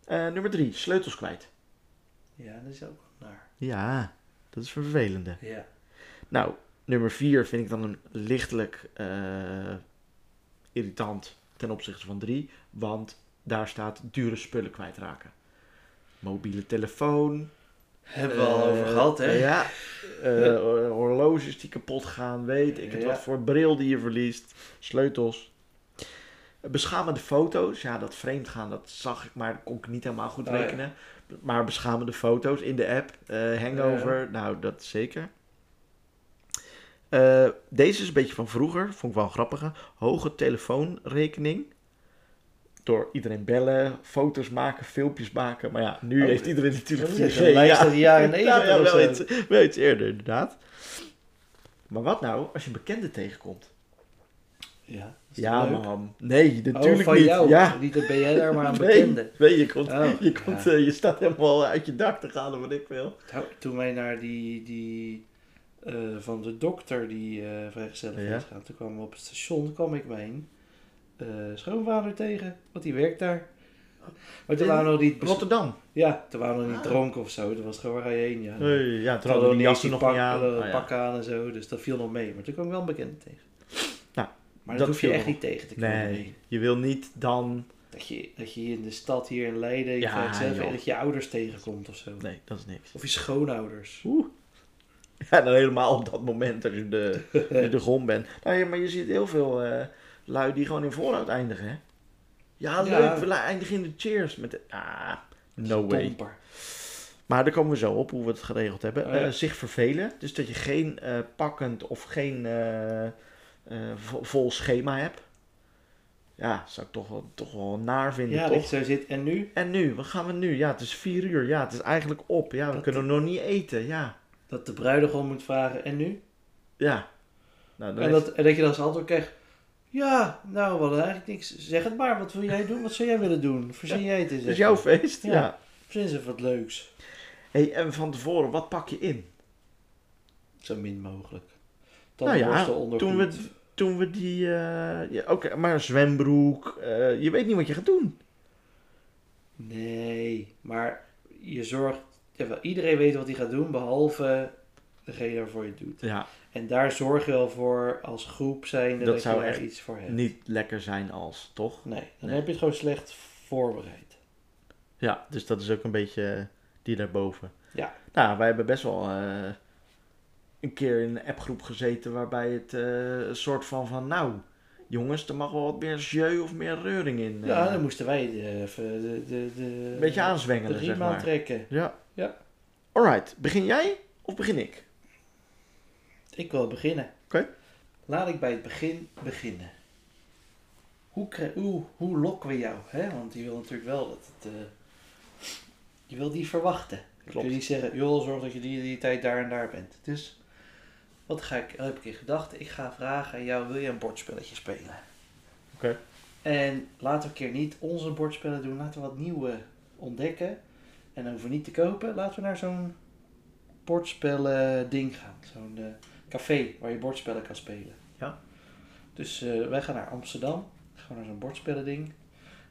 [SPEAKER 2] Eh, nummer drie, sleutels kwijt.
[SPEAKER 1] Ja, dat is ook wel naar.
[SPEAKER 2] Ja, dat is vervelende.
[SPEAKER 1] Ja.
[SPEAKER 2] Nou, nummer vier vind ik dan een lichtelijk eh, irritant ten opzichte van drie. Want daar staat dure spullen kwijtraken. Mobiele telefoon.
[SPEAKER 1] Hebben we al
[SPEAKER 2] eh,
[SPEAKER 1] over gehad, hè?
[SPEAKER 2] Ja. eh, hor- horloges die kapot gaan, weet ik het
[SPEAKER 1] Ja.
[SPEAKER 2] wat voor bril die je verliest, sleutels. Beschamende foto's, ja, dat vreemdgaan, dat zag ik, maar kon ik niet helemaal goed
[SPEAKER 1] Oh, ja.
[SPEAKER 2] rekenen. Maar beschamende foto's in de app, eh, hangover, nou, dat zeker. Eh, deze is een beetje van vroeger, vond ik wel een grappige. Hoge telefoonrekening. Door iedereen bellen, foto's maken, filmpjes maken. Maar ja, nu
[SPEAKER 1] Oh,
[SPEAKER 2] heeft iedereen natuurlijk...
[SPEAKER 1] dat is echt
[SPEAKER 2] 4G,
[SPEAKER 1] een lijst uit de jaren
[SPEAKER 2] Ja,
[SPEAKER 1] 90
[SPEAKER 2] ja,
[SPEAKER 1] of
[SPEAKER 2] wel,
[SPEAKER 1] zo.
[SPEAKER 2] iets, wel iets eerder, inderdaad. Maar wat nou als je een bekende tegenkomt?
[SPEAKER 1] Ja, dat is
[SPEAKER 2] Ja,
[SPEAKER 1] leuk.
[SPEAKER 2] man. Nee, natuurlijk
[SPEAKER 1] oh, van
[SPEAKER 2] niet.
[SPEAKER 1] jou.
[SPEAKER 2] Ja.
[SPEAKER 1] Niet een BN'er, maar een
[SPEAKER 2] Nee,
[SPEAKER 1] bekende.
[SPEAKER 2] Nee, je, komt,
[SPEAKER 1] Oh,
[SPEAKER 2] je, komt,
[SPEAKER 1] ja.
[SPEAKER 2] eh, je staat helemaal uit je dak te gaan, of wat ik wil.
[SPEAKER 1] Nou, Toen wij naar die, die eh, van de dokter die eh vrijgezellig
[SPEAKER 2] Ja.
[SPEAKER 1] is gaan, toen kwamen we op het station, kwam ik mijn eh, schoonvader tegen, want die werkt daar. Maar toen
[SPEAKER 2] In
[SPEAKER 1] waren we nog niet, bes-
[SPEAKER 2] Rotterdam.
[SPEAKER 1] ja, toen waren we nog niet
[SPEAKER 2] Ah.
[SPEAKER 1] dronken of zo, dat was gewoon waar ga je heen. Ja.
[SPEAKER 2] Nee, ja,
[SPEAKER 1] Toen
[SPEAKER 2] trouwens,
[SPEAKER 1] hadden we
[SPEAKER 2] die
[SPEAKER 1] niet eens
[SPEAKER 2] jassen
[SPEAKER 1] die
[SPEAKER 2] nog
[SPEAKER 1] pak,
[SPEAKER 2] niet aan.
[SPEAKER 1] eh,
[SPEAKER 2] Ah, ja.
[SPEAKER 1] pak aan en zo, dus dat viel nog mee. Maar toen kwam ik wel een bekende tegen.
[SPEAKER 2] Nou,
[SPEAKER 1] maar
[SPEAKER 2] dat
[SPEAKER 1] dat hoef je
[SPEAKER 2] viel
[SPEAKER 1] echt
[SPEAKER 2] nog.
[SPEAKER 1] niet tegen te komen.
[SPEAKER 2] Nee, je wil niet dan
[SPEAKER 1] Dat je, dat je hier in de stad hier in Leiden, ik
[SPEAKER 2] Ja,
[SPEAKER 1] weet het zelf,
[SPEAKER 2] joh.
[SPEAKER 1] en dat je ouders tegenkomt of zo.
[SPEAKER 2] Nee, dat is niks.
[SPEAKER 1] Of je schoonouders.
[SPEAKER 2] Oeh. Ja, dan helemaal op dat moment als je de, als je de grond bent. Nou, ja, maar je ziet heel veel eh, lui die gewoon in vooruit eindigen, hè? Ja,
[SPEAKER 1] Ja.
[SPEAKER 2] leuk, we la- eindigen in de cheers. Met de, ah, no way.
[SPEAKER 1] Domper.
[SPEAKER 2] Maar daar komen we zo op hoe we het geregeld hebben.
[SPEAKER 1] Oh, ja.
[SPEAKER 2] Eh, zich vervelen, dus dat je geen eh, pakkend of geen eh, eh, vo- vol schema hebt. Ja, zou ik toch wel, toch wel naar vinden,
[SPEAKER 1] Ja, dat
[SPEAKER 2] toch?
[SPEAKER 1] je zo zit. En nu?
[SPEAKER 2] En nu, wat gaan we nu? Ja, het is vier uur. Ja, het is eigenlijk op. Ja, we
[SPEAKER 1] Dat-
[SPEAKER 2] kunnen nog niet eten. Ja.
[SPEAKER 1] Dat de bruidegom moet vragen, en nu?
[SPEAKER 2] Ja. Nou, dan
[SPEAKER 1] En
[SPEAKER 2] heeft-
[SPEAKER 1] dat, en dat je dan als antwoord krijgt, ja, nou, we hadden eigenlijk niks. Zeg het maar, wat wil jij doen? Wat zou jij willen doen? Verzin jij het eens
[SPEAKER 2] dat is
[SPEAKER 1] even.
[SPEAKER 2] jouw feest. Ja.
[SPEAKER 1] Ja. Verzin eens even wat leuks.
[SPEAKER 2] Hey, en van tevoren, wat pak je in?
[SPEAKER 1] Zo min mogelijk.
[SPEAKER 2] Nou ja,
[SPEAKER 1] Tandenborstel,
[SPEAKER 2] Toen
[SPEAKER 1] ondergoed.
[SPEAKER 2] we, toen we die... eh, ja, Oké, maar een zwembroek. eh, je weet niet wat je gaat doen.
[SPEAKER 1] Nee, maar je zorgt... Jawel, iedereen weet wat hij gaat doen, behalve degene waarvoor je het doet.
[SPEAKER 2] Ja.
[SPEAKER 1] En daar zorg je wel voor als groep zijn dat,
[SPEAKER 2] Dat
[SPEAKER 1] je
[SPEAKER 2] zou
[SPEAKER 1] daar
[SPEAKER 2] echt
[SPEAKER 1] iets voor hebt.
[SPEAKER 2] Niet lekker zijn als, toch?
[SPEAKER 1] Nee, dan
[SPEAKER 2] Nee.
[SPEAKER 1] heb je het gewoon slecht voorbereid.
[SPEAKER 2] Ja, dus dat is ook een beetje eh, die daarboven.
[SPEAKER 1] Ja.
[SPEAKER 2] Nou, wij hebben best wel eh, een keer in een appgroep gezeten waarbij het eh, een soort van van... Nou, jongens, er mag wel wat meer jeu of meer reuring in. eh,
[SPEAKER 1] Ja, dan eh, moesten wij de, even de, de, de,
[SPEAKER 2] een beetje
[SPEAKER 1] de
[SPEAKER 2] aanzwengelen, zeg
[SPEAKER 1] riem
[SPEAKER 2] maar.
[SPEAKER 1] aantrekken.
[SPEAKER 2] Ja.
[SPEAKER 1] Ja.
[SPEAKER 2] Alright, begin jij of begin ik?
[SPEAKER 1] Ik wil beginnen.
[SPEAKER 2] Oké.
[SPEAKER 1] Laat ik bij het begin beginnen. Hoe, kri- hoe, hoe lokken we jou? Hè? Want je wil natuurlijk wel dat het... eh, je wil die verwachten. Je
[SPEAKER 2] Klopt.
[SPEAKER 1] kunt niet zeggen, joh, zorg dat je die, die tijd daar en daar bent. Dus, wat ga ik, heb ik in gedachten? Ik ga vragen aan jou, wil je een bordspelletje spelen?
[SPEAKER 2] Oké.
[SPEAKER 1] En laten we een keer niet onze bordspellen doen. Laten we wat nieuwe ontdekken. En dan hoeven we niet te kopen. Laten we naar zo'n bordspellen ding gaan. Zo'n eh, café waar je bordspellen kan spelen.
[SPEAKER 2] Ja.
[SPEAKER 1] Dus eh, wij gaan naar Amsterdam. Dan gaan we naar zo'n bordspellen ding.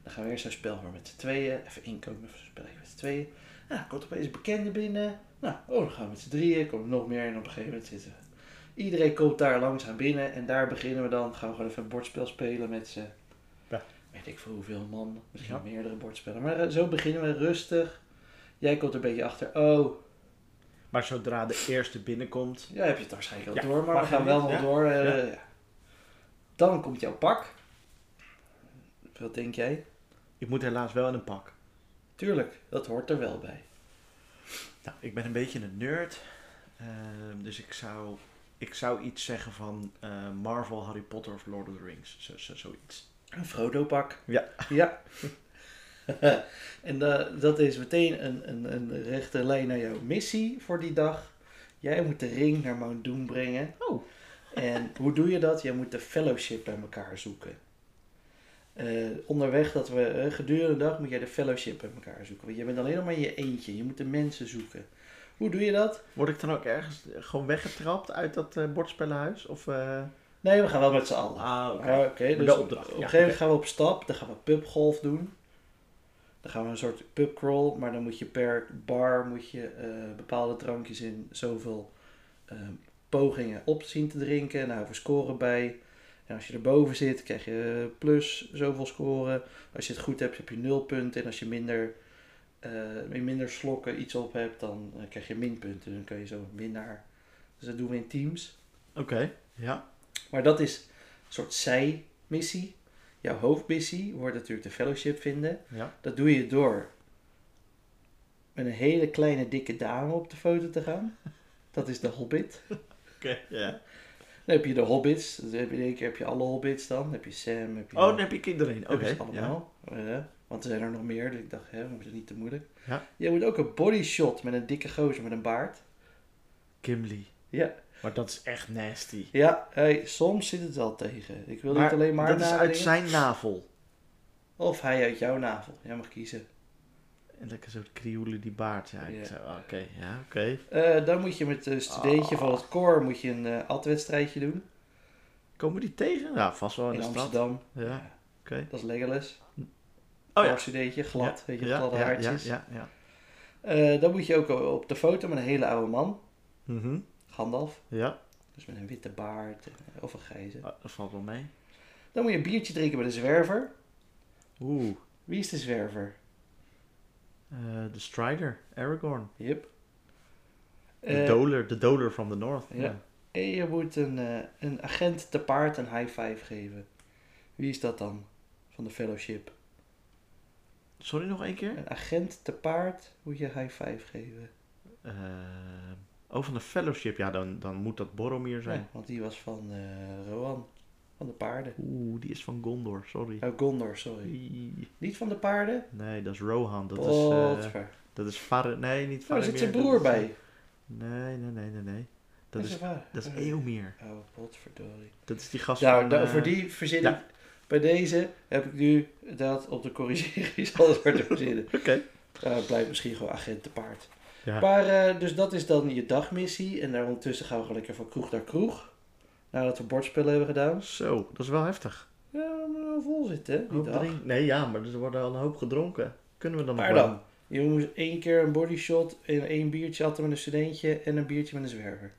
[SPEAKER 1] Dan gaan we eerst zo'n spel waar met z'n tweeën. Even inkomen, even zo'n spelletje met z'n tweeën. Nou, dan komt opeens een bekende binnen. Nou, oh, dan gaan we met z'n drieën. Komt er nog meer en op een gegeven moment zitten we. Iedereen komt daar langzaam binnen en daar beginnen we dan. Gaan we gewoon even een bordspel spelen met z'n weet ik veel hoeveel man, misschien
[SPEAKER 2] Ja.
[SPEAKER 1] meerdere bordspellen. Maar eh, zo beginnen we rustig. Jij komt er een beetje achter. Oh,
[SPEAKER 2] Maar zodra de eerste binnenkomt.
[SPEAKER 1] ja, heb je het waarschijnlijk al
[SPEAKER 2] Ja,
[SPEAKER 1] door, maar we
[SPEAKER 2] mag
[SPEAKER 1] gaan
[SPEAKER 2] je
[SPEAKER 1] wel
[SPEAKER 2] niet,
[SPEAKER 1] nog
[SPEAKER 2] ja.
[SPEAKER 1] door. eh, ja. Dan komt jouw pak. Wat denk jij?
[SPEAKER 2] Ik moet helaas wel in een pak.
[SPEAKER 1] Tuurlijk, dat hoort er wel bij.
[SPEAKER 2] Nou, ik ben een beetje een nerd. ehm, dus ik zou, ik zou iets zeggen van eh, Marvel, Harry Potter of Lord of the Rings. Zo, zo, zoiets.
[SPEAKER 1] Een Frodo-pak.
[SPEAKER 2] Ja.
[SPEAKER 1] Ja. en eh, dat is meteen een, een, een rechte lijn naar jouw missie voor die dag. Jij moet de ring naar Mount Doom brengen.
[SPEAKER 2] Oh.
[SPEAKER 1] En hoe doe je dat? Jij moet de fellowship bij elkaar zoeken. Eh, onderweg, dat we, eh, gedurende de dag, moet jij de fellowship bij elkaar zoeken. Want je bent alleen nog maar in je eentje. Je moet de mensen zoeken. Hoe doe je dat?
[SPEAKER 2] Word ik dan ook ergens eh, gewoon weggetrapt uit dat eh, bordspellenhuis? Of, eh,
[SPEAKER 1] Nee, we gaan wel met z'n allen.
[SPEAKER 2] Ah, oké.
[SPEAKER 1] Ja, Oké, dus
[SPEAKER 2] de opdracht,
[SPEAKER 1] op
[SPEAKER 2] ja,
[SPEAKER 1] een gegeven moment
[SPEAKER 2] oké.
[SPEAKER 1] gaan we op stap. Dan gaan we pubgolf doen. Dan gaan we een soort pubcrawl. Maar dan moet je per bar moet je, eh, bepaalde drankjes in zoveel eh, pogingen op zien te drinken. En daar houden we scoren bij. En als je erboven zit, krijg je plus zoveel scoren. Als je het goed hebt, heb je nul punten. En als je minder, eh, in minder slokken iets op hebt, dan eh, krijg je minpunten. Dan kun je zo een winnaar. Dus dat doen we in teams.
[SPEAKER 2] Oké, ja.
[SPEAKER 1] Maar dat is een soort zij-missie. Jouw hoofdmissie wordt natuurlijk de fellowship vinden.
[SPEAKER 2] ja.
[SPEAKER 1] Dat doe je door met een hele kleine dikke dame op de foto te gaan. Dat is de hobbit.
[SPEAKER 2] Oké, ja.
[SPEAKER 1] Dan heb je de hobbits. Dan heb je in één keer heb je alle hobbits dan. Dan heb je Sam. Heb je
[SPEAKER 2] Oh, dan heb je kinderen. Oké,
[SPEAKER 1] Oké,
[SPEAKER 2] ja.
[SPEAKER 1] allemaal. Eh, want er zijn er nog meer. Dus ik dacht, hè, we moeten niet te moeilijk.
[SPEAKER 2] Ja.
[SPEAKER 1] Je moet ook een bodyshot met een dikke gozer met een baard.
[SPEAKER 2] Gimli.
[SPEAKER 1] Ja,
[SPEAKER 2] Maar dat is echt nasty.
[SPEAKER 1] ja hey, soms zit het wel tegen. Ik wil niet alleen maar
[SPEAKER 2] dat is uit
[SPEAKER 1] nadringen.
[SPEAKER 2] zijn navel.
[SPEAKER 1] Of hij uit jouw navel. Jij mag kiezen.
[SPEAKER 2] En lekker zo krioelen die baard. Ja, ik
[SPEAKER 1] Ja.
[SPEAKER 2] zou- oké, ja, oké.
[SPEAKER 1] Eh, dan moet je met een
[SPEAKER 2] Ah.
[SPEAKER 1] studentje van het koor moet je een eh atwedstrijdje
[SPEAKER 2] Oh,
[SPEAKER 1] doen.
[SPEAKER 2] Komen die tegen? Ja, vast wel in,
[SPEAKER 1] in
[SPEAKER 2] de stad.
[SPEAKER 1] Amsterdam.
[SPEAKER 2] Ja, oké.
[SPEAKER 1] Dat is Legolas.
[SPEAKER 2] Oh
[SPEAKER 1] Een
[SPEAKER 2] ja.
[SPEAKER 1] studentje, glad.
[SPEAKER 2] Ja,
[SPEAKER 1] Weet je,
[SPEAKER 2] ja,
[SPEAKER 1] gladde
[SPEAKER 2] ja,
[SPEAKER 1] haartjes.
[SPEAKER 2] Ja, ja, ja.
[SPEAKER 1] Eh, dan moet je ook op de foto met een hele oude man.
[SPEAKER 2] Mhm.
[SPEAKER 1] Gandalf.
[SPEAKER 2] ja.
[SPEAKER 1] Dus met een witte baard eh, of een grijze.
[SPEAKER 2] Oh, dat valt wel mee.
[SPEAKER 1] Dan moet je een biertje drinken met een zwerver.
[SPEAKER 2] Oeh,
[SPEAKER 1] Wie is de zwerver?
[SPEAKER 2] eh, de Strider, Aragorn.
[SPEAKER 1] Yep.
[SPEAKER 2] De
[SPEAKER 1] Eh,
[SPEAKER 2] doler, de doler from the north.
[SPEAKER 1] ja. en je moet een, eh, een agent te paard een high five geven. Wie is dat dan? Van de fellowship.
[SPEAKER 2] Sorry, nog één keer?
[SPEAKER 1] Een agent te paard moet je high five geven.
[SPEAKER 2] Eh, oh, van de fellowship. Ja, dan, dan moet dat Boromir zijn.
[SPEAKER 1] Ja, want die was van eh, Rohan. Van de paarden.
[SPEAKER 2] Oeh, die is van Gondor, sorry.
[SPEAKER 1] Oh, Gondor, sorry.
[SPEAKER 2] Ie.
[SPEAKER 1] Niet van de paarden?
[SPEAKER 2] Nee, dat is Rohan. Dat is, eh,
[SPEAKER 1] Potver.
[SPEAKER 2] dat is Far... Nee, niet
[SPEAKER 1] oh,
[SPEAKER 2] Faramir.
[SPEAKER 1] er zit zijn
[SPEAKER 2] dat
[SPEAKER 1] broer
[SPEAKER 2] is- eh,
[SPEAKER 1] bij.
[SPEAKER 2] Nee, nee, nee, nee, nee. Dat
[SPEAKER 1] Met
[SPEAKER 2] is,
[SPEAKER 1] zijn vader.
[SPEAKER 2] dat is
[SPEAKER 1] Oh.
[SPEAKER 2] Eeuwmeer.
[SPEAKER 1] Oh, potverdorie.
[SPEAKER 2] Dat is die gast
[SPEAKER 1] Nou,
[SPEAKER 2] van...
[SPEAKER 1] nou,
[SPEAKER 2] eh,
[SPEAKER 1] voor die verzin
[SPEAKER 2] ja.
[SPEAKER 1] ik... Bij deze heb ik nu dat op de corrigering alles voor te verzinnen.
[SPEAKER 2] Oké.
[SPEAKER 1] Eh blijft misschien gewoon agent te paard.
[SPEAKER 2] Ja.
[SPEAKER 1] Maar, eh, dus dat is dan je dagmissie. En daar ondertussen gaan we gewoon lekker van kroeg naar kroeg. Nadat we bordspellen hebben gedaan.
[SPEAKER 2] Zo, dat is wel heftig.
[SPEAKER 1] Ja, maar wel vol zitten, hè, die
[SPEAKER 2] Hoop
[SPEAKER 1] dag.
[SPEAKER 2] drink- Nee, ja, maar dus er worden al een hoop gedronken. Kunnen we dan nog
[SPEAKER 1] Maar
[SPEAKER 2] wel?
[SPEAKER 1] dan, je moest één keer een bodyshot en één biertje atten met een studentje en een biertje met een zwerver.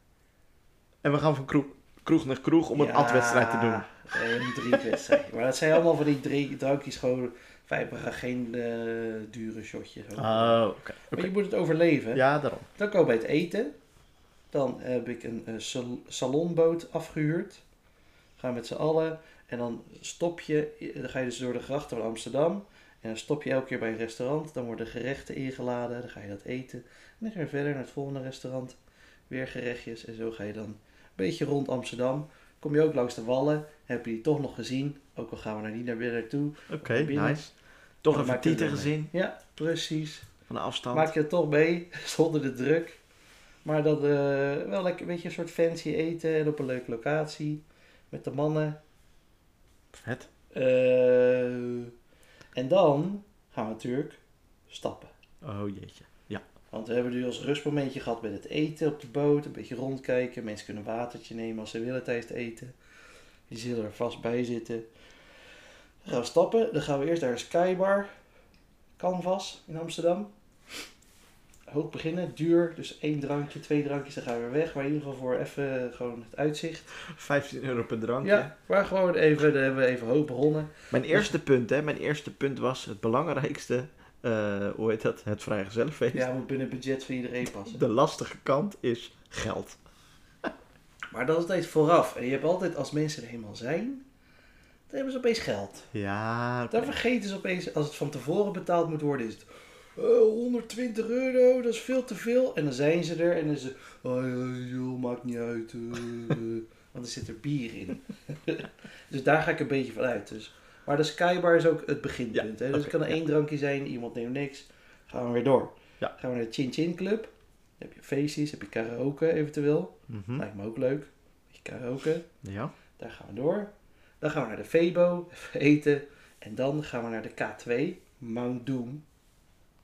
[SPEAKER 2] En we gaan van kroeg, kroeg naar kroeg om een
[SPEAKER 1] Ja,
[SPEAKER 2] atwedstrijd te doen.
[SPEAKER 1] Een drinkwedstrijd. maar dat zijn allemaal van die drink, drankjes gewoon vijpige, geen eh, dure shotjes.
[SPEAKER 2] Oh, oké.
[SPEAKER 1] Maar
[SPEAKER 2] oké.
[SPEAKER 1] je moet het overleven.
[SPEAKER 2] Ja, daarom.
[SPEAKER 1] Dan komen we bij het eten. Dan heb ik een eh, sal- salonboot afgehuurd. Gaan met z'n allen. En dan stop je, dan ga je dus door de grachten van Amsterdam. En dan stop je elke keer bij een restaurant. Dan worden gerechten ingeladen. Dan ga je dat eten. En dan ga je verder naar het volgende restaurant. Weer gerechtjes. En zo ga je dan een beetje rond Amsterdam. Kom je ook langs de wallen. Heb je die toch nog gezien. Ook al gaan we naar niet naar weer naartoe.
[SPEAKER 2] Oké,
[SPEAKER 1] binnen.
[SPEAKER 2] nice. Toch
[SPEAKER 1] Dan
[SPEAKER 2] even
[SPEAKER 1] maak je er
[SPEAKER 2] tieten
[SPEAKER 1] mee.
[SPEAKER 2] gezien
[SPEAKER 1] Ja, precies.
[SPEAKER 2] van de afstand.
[SPEAKER 1] Maak je het toch mee, zonder de druk. Maar dat eh, wel lekker een beetje een soort fancy eten en op een leuke locatie. Met de mannen.
[SPEAKER 2] Vet.
[SPEAKER 1] Eh, en dan gaan we natuurlijk stappen.
[SPEAKER 2] Oh jeetje.
[SPEAKER 1] Want we hebben nu ons rustmomentje gehad met het eten op de boot. Een beetje rondkijken. Mensen kunnen een watertje nemen als ze willen tijdens het eten. Die zullen er vast bij zitten. Dan gaan we stappen. Dan gaan we eerst naar een skybar. Canvas in Amsterdam. Hoog beginnen, duur. Dus één drankje, twee drankjes, dan gaan we weer weg. Maar in ieder geval voor even gewoon het uitzicht.
[SPEAKER 2] 15 euro per drankje.
[SPEAKER 1] Ja, maar gewoon even, dan hebben we even hoog begonnen.
[SPEAKER 2] Mijn eerste punt, hè. Mijn eerste punt was het belangrijkste. eh, hoe heet dat? Het vrijgezellenfeest.
[SPEAKER 1] Ja, moet binnen het budget van iedereen passen.
[SPEAKER 2] De lastige kant is geld.
[SPEAKER 1] Maar dat is altijd vooraf. En je hebt altijd, als mensen er helemaal zijn, dan hebben ze opeens geld.
[SPEAKER 2] Ja, oké.
[SPEAKER 1] Dan vergeten ze opeens, als het van tevoren betaald moet worden, is het eh, 120 euro, dat is veel te veel. En dan zijn ze er en dan is het, oh ja, joh, maakt niet uit. eh, eh." want er zit er bier in. dus daar ga ik een beetje van uit. Dus. Maar de skybar is ook het beginpunt.
[SPEAKER 2] Ja,
[SPEAKER 1] hè? Dus
[SPEAKER 2] oké,
[SPEAKER 1] het kan
[SPEAKER 2] ja.
[SPEAKER 1] één drankje zijn, iemand neemt niks. Gaan we weer door.
[SPEAKER 2] Ja.
[SPEAKER 1] Gaan we naar de Chin Chin Club. Dan heb je feestjes, heb je karaoke eventueel.
[SPEAKER 2] Mhm.
[SPEAKER 1] Lijkt me ook leuk. Beetje karaoke.
[SPEAKER 2] Ja.
[SPEAKER 1] Daar gaan we door. Dan gaan we naar de Febo, even eten. En dan gaan we naar de K2, Mount Doom.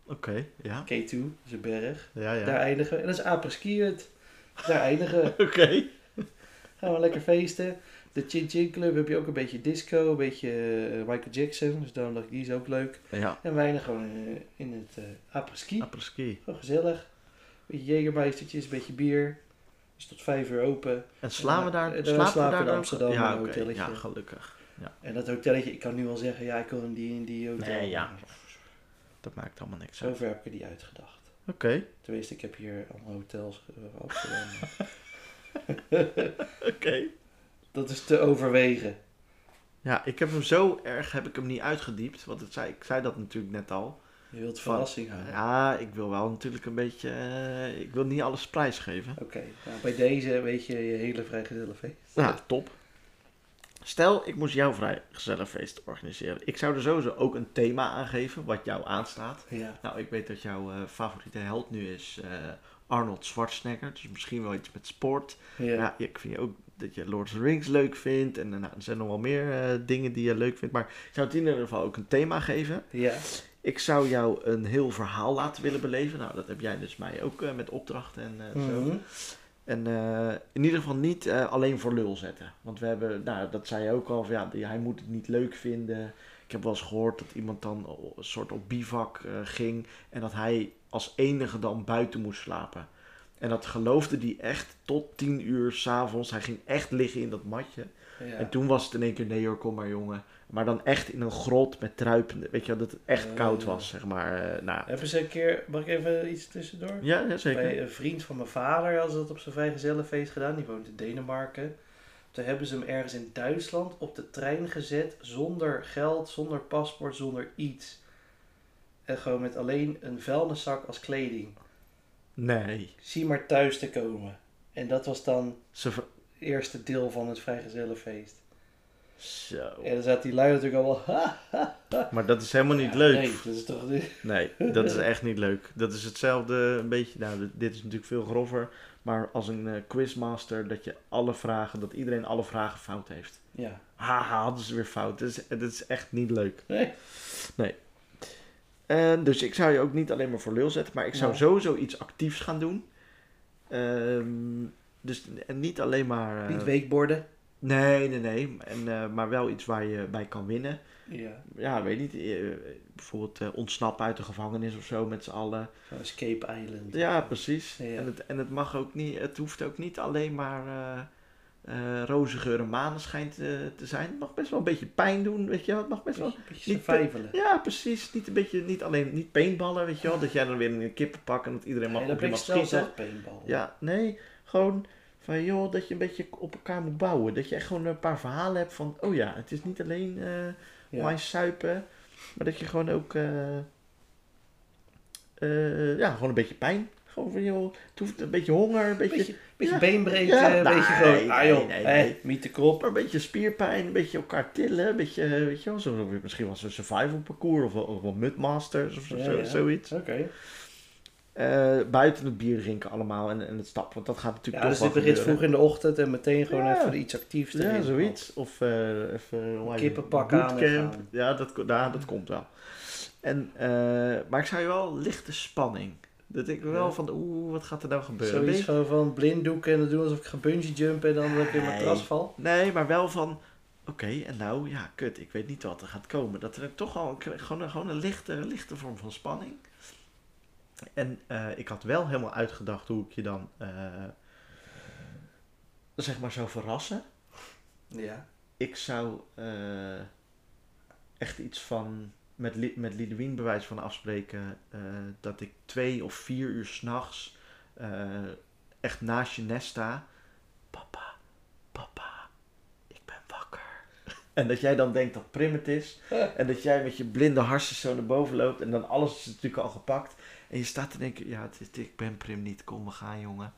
[SPEAKER 2] Oké. ja.
[SPEAKER 1] K2, dat is een berg.
[SPEAKER 2] Ja, ja.
[SPEAKER 1] Daar eindigen we. En dat is apres-skiën. Daar eindigen we.
[SPEAKER 2] Oké.
[SPEAKER 1] Gaan we lekker feesten. De Chin Chin Club heb je ook een beetje disco, een beetje eh, Michael Jackson. Dus daarom dacht ik, die is ook leuk.
[SPEAKER 2] Ja.
[SPEAKER 1] En wij eindigen gewoon eh, in het eh apres-ski.
[SPEAKER 2] Apres-ski.
[SPEAKER 1] Gewoon gezellig. Een beetje jegermeistertjes, een beetje bier. Is tot vijf uur open.
[SPEAKER 2] En slaan we
[SPEAKER 1] Ja,
[SPEAKER 2] daar?
[SPEAKER 1] dan
[SPEAKER 2] eh, slapen we
[SPEAKER 1] slapen we
[SPEAKER 2] daar
[SPEAKER 1] in
[SPEAKER 2] dan? eh,
[SPEAKER 1] Amsterdam in
[SPEAKER 2] Ja,
[SPEAKER 1] een
[SPEAKER 2] oké.
[SPEAKER 1] hotelletje.
[SPEAKER 2] Ja, gelukkig.
[SPEAKER 1] En dat hotelletje, ik kan nu al zeggen, ja, ik wil in die en die hotel.
[SPEAKER 2] Nee, ja. Dat maakt allemaal niks uit.
[SPEAKER 1] Zover heb ik er die uitgedacht.
[SPEAKER 2] Oké.
[SPEAKER 1] Tenminste, ik heb hier allemaal hotels eh, Amsterdam.
[SPEAKER 2] Oké.
[SPEAKER 1] dat is te overwegen.
[SPEAKER 2] Ja, ik heb hem zo erg heb ik hem niet uitgediept. Want het zei, ik zei dat natuurlijk net al.
[SPEAKER 1] Je wilt verrassing houden.
[SPEAKER 2] Ja, ik wil wel natuurlijk een beetje. eh, ik wil niet alles prijsgeven.
[SPEAKER 1] Oké, nou, bij deze weet je je hele vrijgezellenfeest.
[SPEAKER 2] Nou, top. Stel, ik moest jouw vrijgezellenfeest organiseren. Ik zou er sowieso ook een thema aan geven wat jou aanstaat.
[SPEAKER 1] Ja.
[SPEAKER 2] Nou, ik weet dat jouw eh, favoriete held nu is eh, Arnold Schwarzenegger. Dus misschien wel iets met sport.
[SPEAKER 1] ja.
[SPEAKER 2] Ja, ik vind je ook dat je Lord of the Rings leuk vindt. En eh, nou, er zijn nog wel meer eh, dingen die je leuk vindt. Maar ik zou het in ieder geval ook een thema geven.
[SPEAKER 1] Ja.
[SPEAKER 2] Ik zou jou een heel verhaal laten willen beleven. Nou, dat heb jij dus mij ook eh, met opdrachten en eh, zo.
[SPEAKER 1] Mhm.
[SPEAKER 2] En eh, in ieder geval niet eh, alleen voor lul zetten. Want we hebben, nou, dat zei je ook al, van, ja, die- hij moet het niet leuk vinden. Ik heb wel eens gehoord dat iemand dan o- een soort op bivak eh, ging. En dat hij als enige dan buiten moest slapen. En dat geloofde hij echt tot tien uur s'avonds. Hij ging echt liggen in dat matje.
[SPEAKER 1] ja.
[SPEAKER 2] En toen was het in één keer, nee hoor, kom maar jongen. Maar dan echt in een grot met druipende, weet je wel, dat het echt
[SPEAKER 1] Eh.
[SPEAKER 2] koud was, zeg maar. eh, nou,
[SPEAKER 1] Hebben ze een keer, mag ik even iets tussendoor?
[SPEAKER 2] ja, ja, zeker.
[SPEAKER 1] Bij een vriend van mijn vader hadden ze dat op zijn vrijgezellenfeest gedaan. Die woont in Denemarken. Toen hebben ze hem ergens in Duitsland op de trein gezet. Zonder geld, zonder paspoort, zonder iets. En gewoon met alleen een vuilniszak als kleding.
[SPEAKER 2] Nee,
[SPEAKER 1] Zie maar thuis te komen. En dat was dan
[SPEAKER 2] ze ver-
[SPEAKER 1] het eerste deel van het vrijgezellenfeest.
[SPEAKER 2] Zo.
[SPEAKER 1] En dan zaten die lui natuurlijk allemaal... Ha,
[SPEAKER 2] Maar dat is helemaal niet
[SPEAKER 1] Ja,
[SPEAKER 2] leuk.
[SPEAKER 1] Nee,
[SPEAKER 2] Nee.
[SPEAKER 1] dat is toch...
[SPEAKER 2] dat is echt niet leuk. Dat is hetzelfde, een beetje, nou, dit- dit is natuurlijk veel grover. Maar als een eh, quizmaster, dat je alle vragen, dat iedereen alle vragen fout heeft.
[SPEAKER 1] Ja.
[SPEAKER 2] Haha, hadden ze weer fout. Dat is, dat is echt niet leuk.
[SPEAKER 1] Nee.
[SPEAKER 2] En dus ik zou je ook niet alleen maar voor lul zetten, maar ik zou
[SPEAKER 1] Ja.
[SPEAKER 2] sowieso iets actiefs gaan doen. Ehm, dus en niet alleen maar. eh,
[SPEAKER 1] Niet weekborden.
[SPEAKER 2] nee, nee, nee. En, eh, maar wel iets waar je bij kan winnen.
[SPEAKER 1] Ja.
[SPEAKER 2] Ja, weet niet. eh, bijvoorbeeld eh, ontsnappen uit de gevangenis of zo met z'n allen.
[SPEAKER 1] Zo'n escape island.
[SPEAKER 2] Ja, precies.
[SPEAKER 1] Ja.
[SPEAKER 2] En, het, en het mag ook niet. Het hoeft ook niet alleen maar. eh eh roze geur en maneschijn te, te zijn. Het mag best wel een beetje pijn doen, weet je wel. Het mag best wel
[SPEAKER 1] Beetje, beetje
[SPEAKER 2] Niet-
[SPEAKER 1] survivalen.
[SPEAKER 2] ja, precies. Niet, een beetje, niet alleen niet paintballen, weet je wel. Dat jij dan weer een kippen pakt en dat iedereen mag
[SPEAKER 1] Nee,
[SPEAKER 2] op
[SPEAKER 1] dat ben ik
[SPEAKER 2] iemand
[SPEAKER 1] zelf
[SPEAKER 2] schieten.
[SPEAKER 1] zelf paintball.
[SPEAKER 2] Ja, nee. Gewoon van, joh, dat je een beetje op elkaar moet bouwen. Dat je echt gewoon een paar verhalen hebt van... Oh ja, het is niet alleen eh
[SPEAKER 1] Ja.
[SPEAKER 2] wijn suipen. Maar dat je gewoon ook... eh, eh, ja, gewoon een beetje pijn. Gewoon van, joh, het hoeft een beetje honger, een beetje...
[SPEAKER 1] beetje, beetje
[SPEAKER 2] Ja.
[SPEAKER 1] beenbreken,
[SPEAKER 2] Ja.
[SPEAKER 1] een
[SPEAKER 2] Nee,
[SPEAKER 1] beetje gewoon,
[SPEAKER 2] nee,
[SPEAKER 1] ah joh,
[SPEAKER 2] nee,
[SPEAKER 1] hè,
[SPEAKER 2] nee.
[SPEAKER 1] miet de krop.
[SPEAKER 2] maar een beetje spierpijn, een beetje elkaar tillen, een beetje, eh, weet je wel, zo, misschien wel zo'n survival parcours of, wel- of wel mudmasters of zo,
[SPEAKER 1] Ja,
[SPEAKER 2] zo-
[SPEAKER 1] ja.
[SPEAKER 2] zoiets.
[SPEAKER 1] Oké.
[SPEAKER 2] Eh, buiten het bier drinken allemaal en, en het stappen. Want dat gaat
[SPEAKER 1] Ja,
[SPEAKER 2] natuurlijk
[SPEAKER 1] dus
[SPEAKER 2] toch
[SPEAKER 1] dit
[SPEAKER 2] wel
[SPEAKER 1] begint
[SPEAKER 2] gebeuren.
[SPEAKER 1] vroeg in de ochtend en meteen gewoon
[SPEAKER 2] Ja.
[SPEAKER 1] even iets actiefs erin.
[SPEAKER 2] Ja, zoiets. Of eh even hoe heet het?
[SPEAKER 1] kippenpak aan en
[SPEAKER 2] Bootcamp.
[SPEAKER 1] gaan.
[SPEAKER 2] Ja, dat, ko- ja, dat komt wel. En, eh, maar ik zou je wel lichte spanning. Dat ik wel
[SPEAKER 1] Ja.
[SPEAKER 2] van, oeh, wat gaat er nou gebeuren?
[SPEAKER 1] Zoiets
[SPEAKER 2] Weet-
[SPEAKER 1] gewoon van blinddoeken en dan doen alsof ik ga bungee jumpen en dan dat ik in mijn
[SPEAKER 2] Nee.
[SPEAKER 1] matras val.
[SPEAKER 2] Nee, maar wel van, oké, en nou, ja, kut, ik weet niet wat er gaat komen. Dat er toch al een- gewoon, een- gewoon een lichte, lichte vorm van spanning. En eh, ik had wel helemaal uitgedacht hoe ik je dan, eh, zeg maar, zou verrassen.
[SPEAKER 1] Ja.
[SPEAKER 2] ik zou eh, echt iets van met, Li- met Lidewien bewijs van afspreken eh, dat ik twee of vier uur s'nachts eh echt naast je nest sta. Papa, papa, ik ben wakker. En dat jij dan denkt dat Prim het is. En dat jij met je blinde harsen zo naar boven loopt. En dan alles is natuurlijk al gepakt. En je staat te denken, ja, het is, ik ben Prim niet. Kom, we gaan, jongen.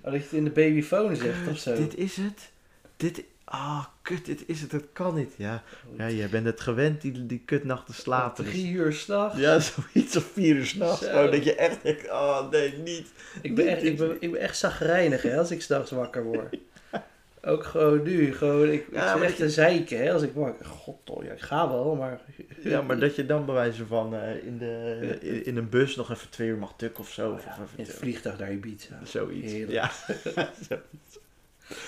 [SPEAKER 1] Oh, dat je het in de babyfoon zegt
[SPEAKER 2] Kut,
[SPEAKER 1] of zo.
[SPEAKER 2] Dit is het. Dit. Ah, kut, dit is het. Dat kan niet. Ja,
[SPEAKER 1] Goed.
[SPEAKER 2] ja jij bent het gewend, die, die kutnachten slapen. Dus-
[SPEAKER 1] Drie uur s'nachts.
[SPEAKER 2] Ja, zoiets of vier uur s'nachts.
[SPEAKER 1] Zo.
[SPEAKER 2] gewoon Dat je echt denkt, oh nee, niet.
[SPEAKER 1] Ik ben echt, ik ben, ik ben echt zagrijnig hè, als ik s'nachts wakker word. Ook gewoon nu. Gewoon, ik, ik
[SPEAKER 2] Ja,
[SPEAKER 1] zit
[SPEAKER 2] maar
[SPEAKER 1] echt
[SPEAKER 2] je-
[SPEAKER 1] te zeiken hè, als ik wakker. God, ja, ik ga wel, maar...
[SPEAKER 2] Ja, maar dat je dan bij wijze van eh, in, de, in, in een bus nog even twee uur mag tukken of zo.
[SPEAKER 1] Oh,
[SPEAKER 2] of
[SPEAKER 1] ja,
[SPEAKER 2] even-
[SPEAKER 1] in het vliegtuig naar Ibiza.
[SPEAKER 2] Zoiets.
[SPEAKER 1] Heerlijk.
[SPEAKER 2] Ja. Zo.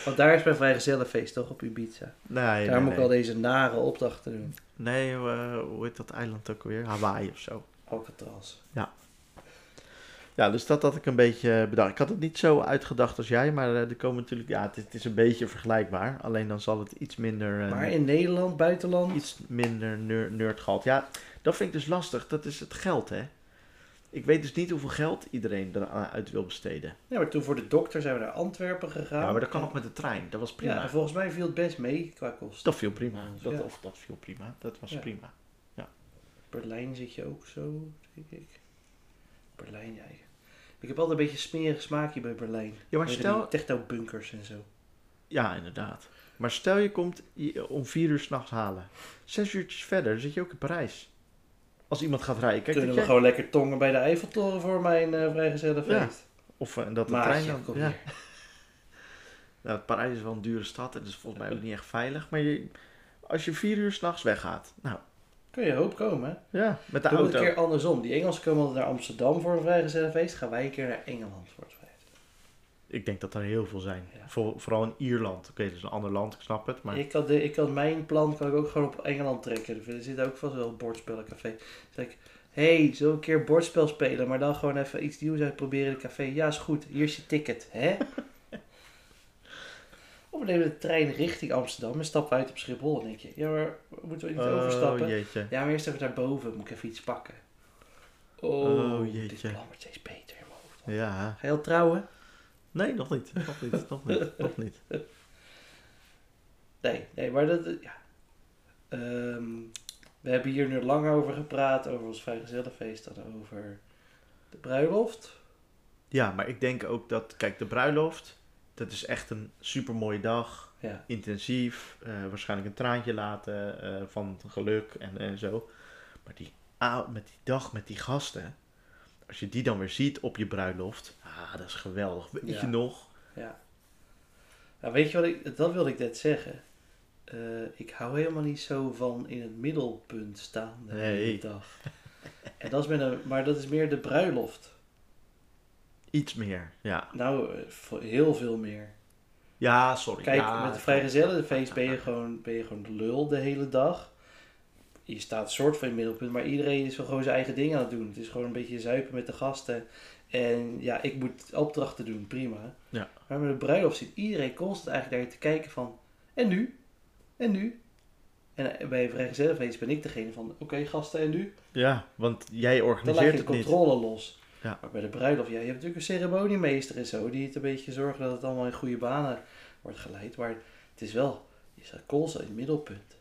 [SPEAKER 1] Want daar is mijn vrijgezellenfeest toch op Ibiza.
[SPEAKER 2] Nee,
[SPEAKER 1] daar
[SPEAKER 2] nee,
[SPEAKER 1] moet ik
[SPEAKER 2] nee.
[SPEAKER 1] al deze nare opdrachten doen.
[SPEAKER 2] Nee, eh, hoe heet dat eiland ook weer? Hawaii of zo.
[SPEAKER 1] Alcatraz.
[SPEAKER 2] Ja, dus dat had ik een beetje eh, bedacht. Ik had het niet zo uitgedacht als jij, maar eh, er komen natuurlijk... Ja, het, het is een beetje vergelijkbaar. Alleen dan zal het iets minder... eh,
[SPEAKER 1] Maar in Nederland, buitenland...
[SPEAKER 2] Iets minder ner nerdgehad. Ja, dat vind ik dus lastig. Dat is het geld, hè. Ik weet dus niet hoeveel geld iedereen eruit wil besteden.
[SPEAKER 1] Ja, maar toen voor de dokter zijn we naar Antwerpen gegaan.
[SPEAKER 2] Ja, maar dat kan ook met de trein. Dat was prima. Dus
[SPEAKER 1] Ja, en volgens mij viel het best mee qua kosten.
[SPEAKER 2] Dat viel prima. Dat,
[SPEAKER 1] Ja.
[SPEAKER 2] Of dat viel prima. Dat was
[SPEAKER 1] Ja.
[SPEAKER 2] prima.
[SPEAKER 1] Berlijn zit je ook zo, denk ik. Berlijn, ja. Ik heb altijd een beetje een smerig smaakje bij Berlijn.
[SPEAKER 2] Ja, maar
[SPEAKER 1] Weet je,
[SPEAKER 2] stel...
[SPEAKER 1] die Techno-bunkers en zo.
[SPEAKER 2] Ja, inderdaad. Maar stel je komt je- om vier uur s'nachts halen. Zes uurtjes verder zit je ook in Parijs. Als iemand gaat rijden. Kijk, dat
[SPEAKER 1] Kunnen we
[SPEAKER 2] jij-
[SPEAKER 1] gewoon lekker tongen bij de Eiffeltoren voor mijn eh vrijgezellenfeest.
[SPEAKER 2] Of eh, dat de
[SPEAKER 1] Maatje,
[SPEAKER 2] trein dan...
[SPEAKER 1] kom
[SPEAKER 2] Ja.
[SPEAKER 1] hier.
[SPEAKER 2] Nou, Parijs is wel een dure stad en dat is volgens mij ook niet echt veilig. Maar je, als je vier uur s'nachts weggaat. Nou,
[SPEAKER 1] Kun je hoop komen, hè?
[SPEAKER 2] ja, met de
[SPEAKER 1] Doe het
[SPEAKER 2] auto.
[SPEAKER 1] een keer andersom. Die Engelsen komen altijd naar Amsterdam voor een vrijgezellenfeest. Gaan wij een keer naar Engeland voor het feest.
[SPEAKER 2] Ik denk dat er heel veel zijn.
[SPEAKER 1] Ja.
[SPEAKER 2] Voor, vooral in Ierland. Oké, dat is een ander land, ik snap het. Maar
[SPEAKER 1] Ik, kan de, ik kan mijn plan kan ik ook gewoon op Engeland trekken. Er zit ook vast wel een bordspellencafé. Dan zeg ik, hé, hey, zullen we een keer bordspel spelen? Maar dan gewoon even iets nieuws uitproberen in het café. Ja, is goed. Hier is je ticket, hè? of we nemen de trein richting Amsterdam en stappen uit op Schiphol. Dan denk je, ja, maar moeten we niet
[SPEAKER 2] Oh,
[SPEAKER 1] overstappen?
[SPEAKER 2] jeetje.
[SPEAKER 1] Ja, maar eerst even naar boven. Moet ik even iets pakken. Oh,
[SPEAKER 2] Oh,
[SPEAKER 1] Dit
[SPEAKER 2] jeetje.
[SPEAKER 1] plan wordt steeds beter in mijn hoofd.
[SPEAKER 2] Ja.
[SPEAKER 1] Ga je al trouwen?
[SPEAKER 2] Nee, nog niet. Nog niet, nog niet, nog niet.
[SPEAKER 1] Nee, nee, maar dat... Ja. Ehm, we hebben hier nu lang over gepraat, over ons vrijgezellenfeest en over de bruiloft.
[SPEAKER 2] Ja, maar ik denk ook dat... Kijk, de bruiloft, dat is echt een supermooie dag.
[SPEAKER 1] Ja,
[SPEAKER 2] intensief, eh, waarschijnlijk een traantje laten eh, van geluk en, en zo. Maar die, a- met die dag met die gasten, als je die dan weer ziet op je bruiloft, ah, dat is geweldig. Weet
[SPEAKER 1] Ja.
[SPEAKER 2] je nog?
[SPEAKER 1] ja. Nou, weet je wat ik... Dat wilde ik net zeggen. Eh, ik hou helemaal niet zo van in het middelpunt staan de hele
[SPEAKER 2] Nee.
[SPEAKER 1] dag. En dat is met een, maar dat is meer de bruiloft.
[SPEAKER 2] Iets meer, ja.
[SPEAKER 1] Nou, eh, voor- heel veel meer.
[SPEAKER 2] Ja, sorry.
[SPEAKER 1] Kijk,
[SPEAKER 2] ja,
[SPEAKER 1] met het vrijgezellenfeest ben je, gewoon, ben je gewoon de lul de hele dag. Je staat soort van in het middelpunt, maar iedereen is wel gewoon zijn eigen ding aan het doen. Het is gewoon een beetje zuipen met de gasten. En ja, ik moet opdrachten doen, prima.
[SPEAKER 2] Ja.
[SPEAKER 1] Maar met de bruiloft zit iedereen constant eigenlijk daar te kijken van... En nu? En nu? En bij een vrijgezellenfeest ben ik degene van... Oké, gasten, en nu?
[SPEAKER 2] Ja, want jij
[SPEAKER 1] Dan laat je
[SPEAKER 2] organiseert
[SPEAKER 1] de
[SPEAKER 2] het niet.
[SPEAKER 1] controle los.
[SPEAKER 2] Ja.
[SPEAKER 1] Maar bij de bruiloft, ja, je hebt natuurlijk een ceremoniemeester en zo, die het een beetje zorgen dat het allemaal in goede banen wordt geleid. Maar het is wel, je staat constant in het middelpunt.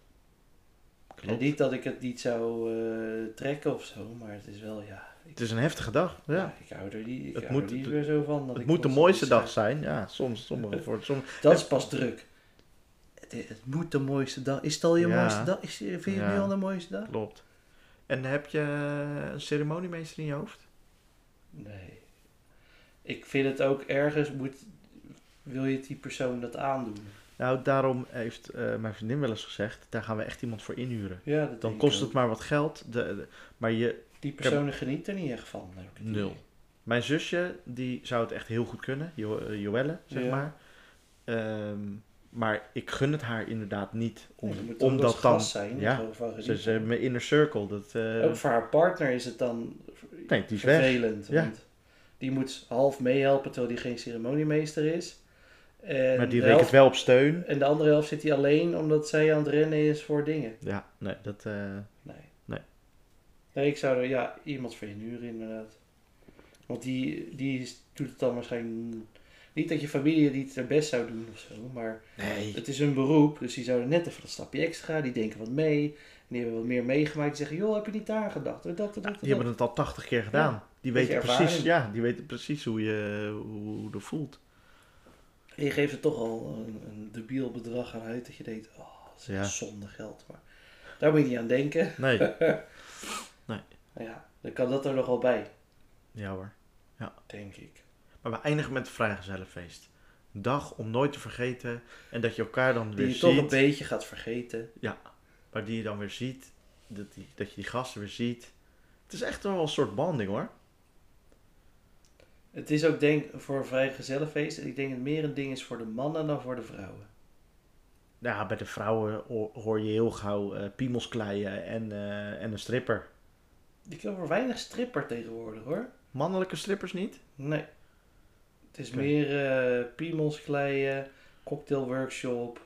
[SPEAKER 2] Klopt.
[SPEAKER 1] En niet dat ik het niet zou eh, trekken of zo, maar het is wel, ja. Ik,
[SPEAKER 2] Het is een heftige dag, ja.
[SPEAKER 1] ja, ik hou er niet, ik
[SPEAKER 2] Het
[SPEAKER 1] hou er
[SPEAKER 2] moet-
[SPEAKER 1] niet
[SPEAKER 2] het-
[SPEAKER 1] meer zo van. dat
[SPEAKER 2] Het
[SPEAKER 1] ik
[SPEAKER 2] moet de
[SPEAKER 1] constant
[SPEAKER 2] mooiste
[SPEAKER 1] moet
[SPEAKER 2] dag zijn. Ja, soms, sommige, voor sommige.
[SPEAKER 1] zijn. Dat is pas druk. Het, het moet de mooiste dag. Is het al je
[SPEAKER 2] Ja.
[SPEAKER 1] mooiste dag? Is, vind je het
[SPEAKER 2] Ja.
[SPEAKER 1] nu al de mooiste dag?
[SPEAKER 2] Klopt. En heb je een ceremoniemeester in je hoofd?
[SPEAKER 1] Nee. Ik vind het ook ergens moet, wil je het die persoon dat aandoen.
[SPEAKER 2] Nou, daarom heeft eh, mijn vriendin wel eens gezegd: daar gaan we echt iemand voor inhuren.
[SPEAKER 1] Ja, dat
[SPEAKER 2] Dan
[SPEAKER 1] denk
[SPEAKER 2] kost
[SPEAKER 1] ik ook.
[SPEAKER 2] het maar wat geld, de, de- maar je,
[SPEAKER 1] Die personen genieten er niet echt van. heb ik het
[SPEAKER 2] Nul.
[SPEAKER 1] idee.
[SPEAKER 2] mijn zusje die zou het echt heel goed kunnen, jo eh, Joelle, zeg
[SPEAKER 1] Ja.
[SPEAKER 2] maar. Ehm, maar ik gun het haar inderdaad niet. Om,
[SPEAKER 1] Nee, je moet ook
[SPEAKER 2] omdat
[SPEAKER 1] als
[SPEAKER 2] dan.
[SPEAKER 1] gast zijn.
[SPEAKER 2] ja,
[SPEAKER 1] gewoon Oh. van
[SPEAKER 2] Ze
[SPEAKER 1] genieten.
[SPEAKER 2] is eh, mijn inner circle. Dat, eh,
[SPEAKER 1] ook voor haar partner is het dan
[SPEAKER 2] nee, die is weg.
[SPEAKER 1] vervelend.
[SPEAKER 2] Ja.
[SPEAKER 1] Want die moet half meehelpen terwijl die geen ceremoniemeester is. En,
[SPEAKER 2] Maar die
[SPEAKER 1] de
[SPEAKER 2] rekent
[SPEAKER 1] helft-
[SPEAKER 2] wel op steun.
[SPEAKER 1] en de andere helft zit hij alleen omdat zij aan het rennen is voor dingen.
[SPEAKER 2] Ja, nee, dat. eh,
[SPEAKER 1] Nee.
[SPEAKER 2] Nee.
[SPEAKER 1] Nee, ik zou er ja, iemand voor inhuren inderdaad. Want die, die is- doet het dan waarschijnlijk... Niet dat je familie die het haar best zou doen of zo, maar...
[SPEAKER 2] nee.
[SPEAKER 1] Het is hun beroep, dus die zouden net even dat stapje extra, die denken wat mee. En die hebben wat meer meegemaakt. Die zeggen, joh, heb je niet aan gedacht? Dat, dat, dat, dat.
[SPEAKER 2] Die hebben het al tachtig keer gedaan. Die
[SPEAKER 1] Beetje
[SPEAKER 2] weten, precies,
[SPEAKER 1] ervaring.
[SPEAKER 2] ja, die weten precies hoe je, hoe dat voelt.
[SPEAKER 1] En je geeft er toch al een, een debiel bedrag aan uit dat je denkt, oh, dat is echt
[SPEAKER 2] Ja.
[SPEAKER 1] zonde geld. Maar daar moet je niet aan denken.
[SPEAKER 2] Nee,
[SPEAKER 1] Maar ja, dan kan dat er nog wel bij,
[SPEAKER 2] ja hoor.
[SPEAKER 1] denk ik.
[SPEAKER 2] Maar we eindigen met het vrijgezellenfeest. dag om nooit te vergeten. En dat je elkaar dan
[SPEAKER 1] Die
[SPEAKER 2] weer
[SPEAKER 1] je toch een
[SPEAKER 2] ziet.
[SPEAKER 1] beetje gaat vergeten.
[SPEAKER 2] maar die je dan weer ziet. Dat, die, dat je die gasten weer ziet. Het is echt wel een soort banding hoor.
[SPEAKER 1] Het is ook denk voor een vrijgezellenfeest. Ik denk het meer een ding is voor de mannen dan voor de vrouwen.
[SPEAKER 2] Ja, bij de vrouwen ho- hoor je heel gauw eh, piemels kleien en, eh, en een stripper.
[SPEAKER 1] Ik heb voor weinig stripper tegenwoordig hoor.
[SPEAKER 2] Mannelijke strippers niet?
[SPEAKER 1] Nee. Het is
[SPEAKER 2] Oké.
[SPEAKER 1] meer eh piemels kleien, cocktailworkshop,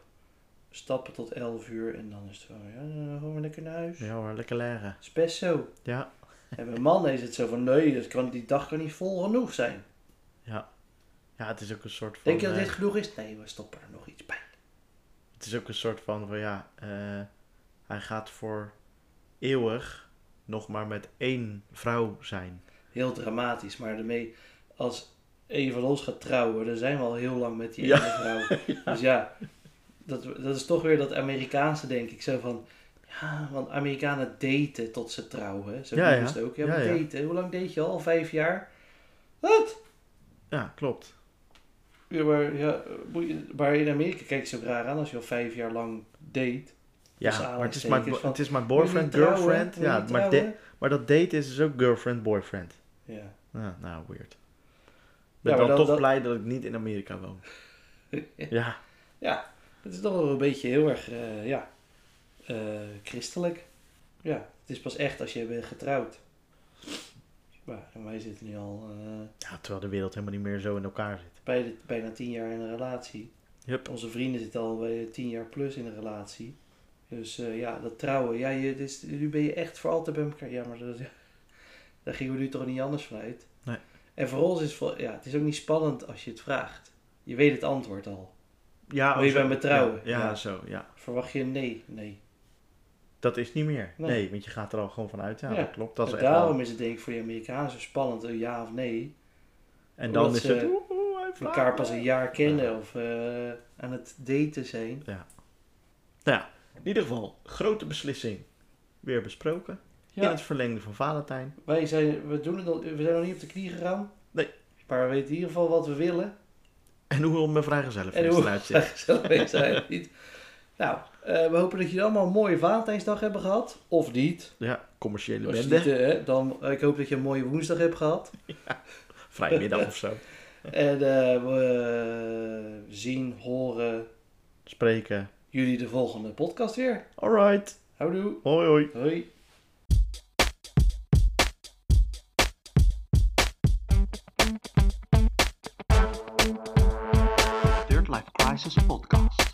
[SPEAKER 1] stappen tot 11 uur en dan is het gewoon, ja, dan gaan we lekker naar huis.
[SPEAKER 2] Ja hoor, lekker leren.
[SPEAKER 1] Het is best zo.
[SPEAKER 2] Ja.
[SPEAKER 1] En bij mannen is het zo van, nee, dat kan, die dag kan niet vol genoeg zijn.
[SPEAKER 2] Ja, het is ook een soort van...
[SPEAKER 1] Denk je dat
[SPEAKER 2] eh,
[SPEAKER 1] dit genoeg is? Nee, we stoppen er nog iets bij.
[SPEAKER 2] Het is ook een soort van, van ja, eh, hij gaat voor eeuwig nog maar met één vrouw zijn.
[SPEAKER 1] Heel dramatisch, maar daarmee, als een van ons gaat trouwen, dan zijn we al heel lang met die
[SPEAKER 2] Ja.
[SPEAKER 1] ene vrouw. Dus ja, dat, dat is toch weer dat Amerikaanse, denk ik. Zo van, ja, want Amerikanen daten tot ze trouwen. Zo
[SPEAKER 2] Ja,
[SPEAKER 1] ja,
[SPEAKER 2] ja.
[SPEAKER 1] het ook. Ja,
[SPEAKER 2] Ja,
[SPEAKER 1] maar
[SPEAKER 2] ja.
[SPEAKER 1] daten. Hoe lang date je al? Al Vijf jaar? Wat?
[SPEAKER 2] Ja, klopt.
[SPEAKER 1] Ja, maar, ja, moet je- maar in Amerika kijk je zo raar aan als je al vijf jaar lang date. Dus
[SPEAKER 2] Ja, maar het is mijn,
[SPEAKER 1] aanhalingstekens van,
[SPEAKER 2] het is mijn boyfriend,
[SPEAKER 1] Wil je niet trouwen?
[SPEAKER 2] girlfriend.
[SPEAKER 1] Wil je
[SPEAKER 2] Ja,
[SPEAKER 1] niet
[SPEAKER 2] maar,
[SPEAKER 1] trouwen?
[SPEAKER 2] da- maar dat date is dus ook girlfriend, boyfriend.
[SPEAKER 1] Ja.
[SPEAKER 2] Ja, nou, weird. Ik
[SPEAKER 1] Ja,
[SPEAKER 2] ben
[SPEAKER 1] maar
[SPEAKER 2] dan
[SPEAKER 1] dat-
[SPEAKER 2] toch
[SPEAKER 1] dat-
[SPEAKER 2] blij dat ik niet in Amerika woon. ja,
[SPEAKER 1] ja, het is toch wel een beetje heel erg eh, ja, eh, christelijk. Ja, het is pas echt als je bent getrouwd. Maar, en wij zitten nu al eh,
[SPEAKER 2] ja, terwijl de wereld helemaal niet meer zo in elkaar zit.
[SPEAKER 1] bij de- bijna tien jaar in een relatie.
[SPEAKER 2] Yep.
[SPEAKER 1] Onze vrienden zitten al bij tien jaar plus in een relatie. Dus eh, ja, dat trouwen. Ja, je, dit is- nu ben je echt voor altijd bij elkaar. Ja, maar dat, daar gingen we nu toch niet anders van uit.
[SPEAKER 2] Nee.
[SPEAKER 1] En voor ons is het voor- ja, het is ook niet spannend als je het vraagt. Je weet het antwoord al.
[SPEAKER 2] Ja,
[SPEAKER 1] Wil je
[SPEAKER 2] oh, zo.
[SPEAKER 1] bij me trouwen?
[SPEAKER 2] Ja, ja,
[SPEAKER 1] Ja.
[SPEAKER 2] zo, ja.
[SPEAKER 1] Verwacht je een nee? Nee.
[SPEAKER 2] Dat is niet meer. Nee.
[SPEAKER 1] Nee.
[SPEAKER 2] want je gaat er al gewoon van uit. Ja,
[SPEAKER 1] Ja.
[SPEAKER 2] dat klopt. Dat is
[SPEAKER 1] en
[SPEAKER 2] echt wel-
[SPEAKER 1] daarom is het denk ik voor die Amerikanen zo spannend, een ja of nee.
[SPEAKER 2] En dan
[SPEAKER 1] omdat
[SPEAKER 2] is
[SPEAKER 1] ze
[SPEAKER 2] het... oeh, oeh, hij vraagt
[SPEAKER 1] Elkaar pas
[SPEAKER 2] me.
[SPEAKER 1] een jaar kennen of eh, aan het daten zijn.
[SPEAKER 2] Nou ja, in ieder geval, grote beslissing weer besproken. In
[SPEAKER 1] Ja,
[SPEAKER 2] het verlengde van Valentijn.
[SPEAKER 1] wij zijn, we, doen het nog, we zijn nog niet op de knie gegaan.
[SPEAKER 2] Nee.
[SPEAKER 1] Maar we weten in ieder geval wat we willen.
[SPEAKER 2] En hoe mijn vrijgezellenfeest
[SPEAKER 1] En hoe-
[SPEAKER 2] eruit ziet.
[SPEAKER 1] Gezellig zijn we niet. Nou, eh, we hopen dat jullie allemaal een mooie Valentijnsdag hebben gehad. Of niet.
[SPEAKER 2] Ja, commerciële
[SPEAKER 1] Als je
[SPEAKER 2] bende.
[SPEAKER 1] niet, eh, dan, ik hoop dat je een mooie woensdag hebt gehad. eh,
[SPEAKER 2] Vrijmiddag of zo.
[SPEAKER 1] En eh, we zien, horen
[SPEAKER 2] Spreken.
[SPEAKER 1] jullie de volgende podcast weer.
[SPEAKER 2] Alright.
[SPEAKER 1] Houdoe.
[SPEAKER 2] Hoi hoi.
[SPEAKER 1] Hoi.
[SPEAKER 3] Third Life Crisis Podcast.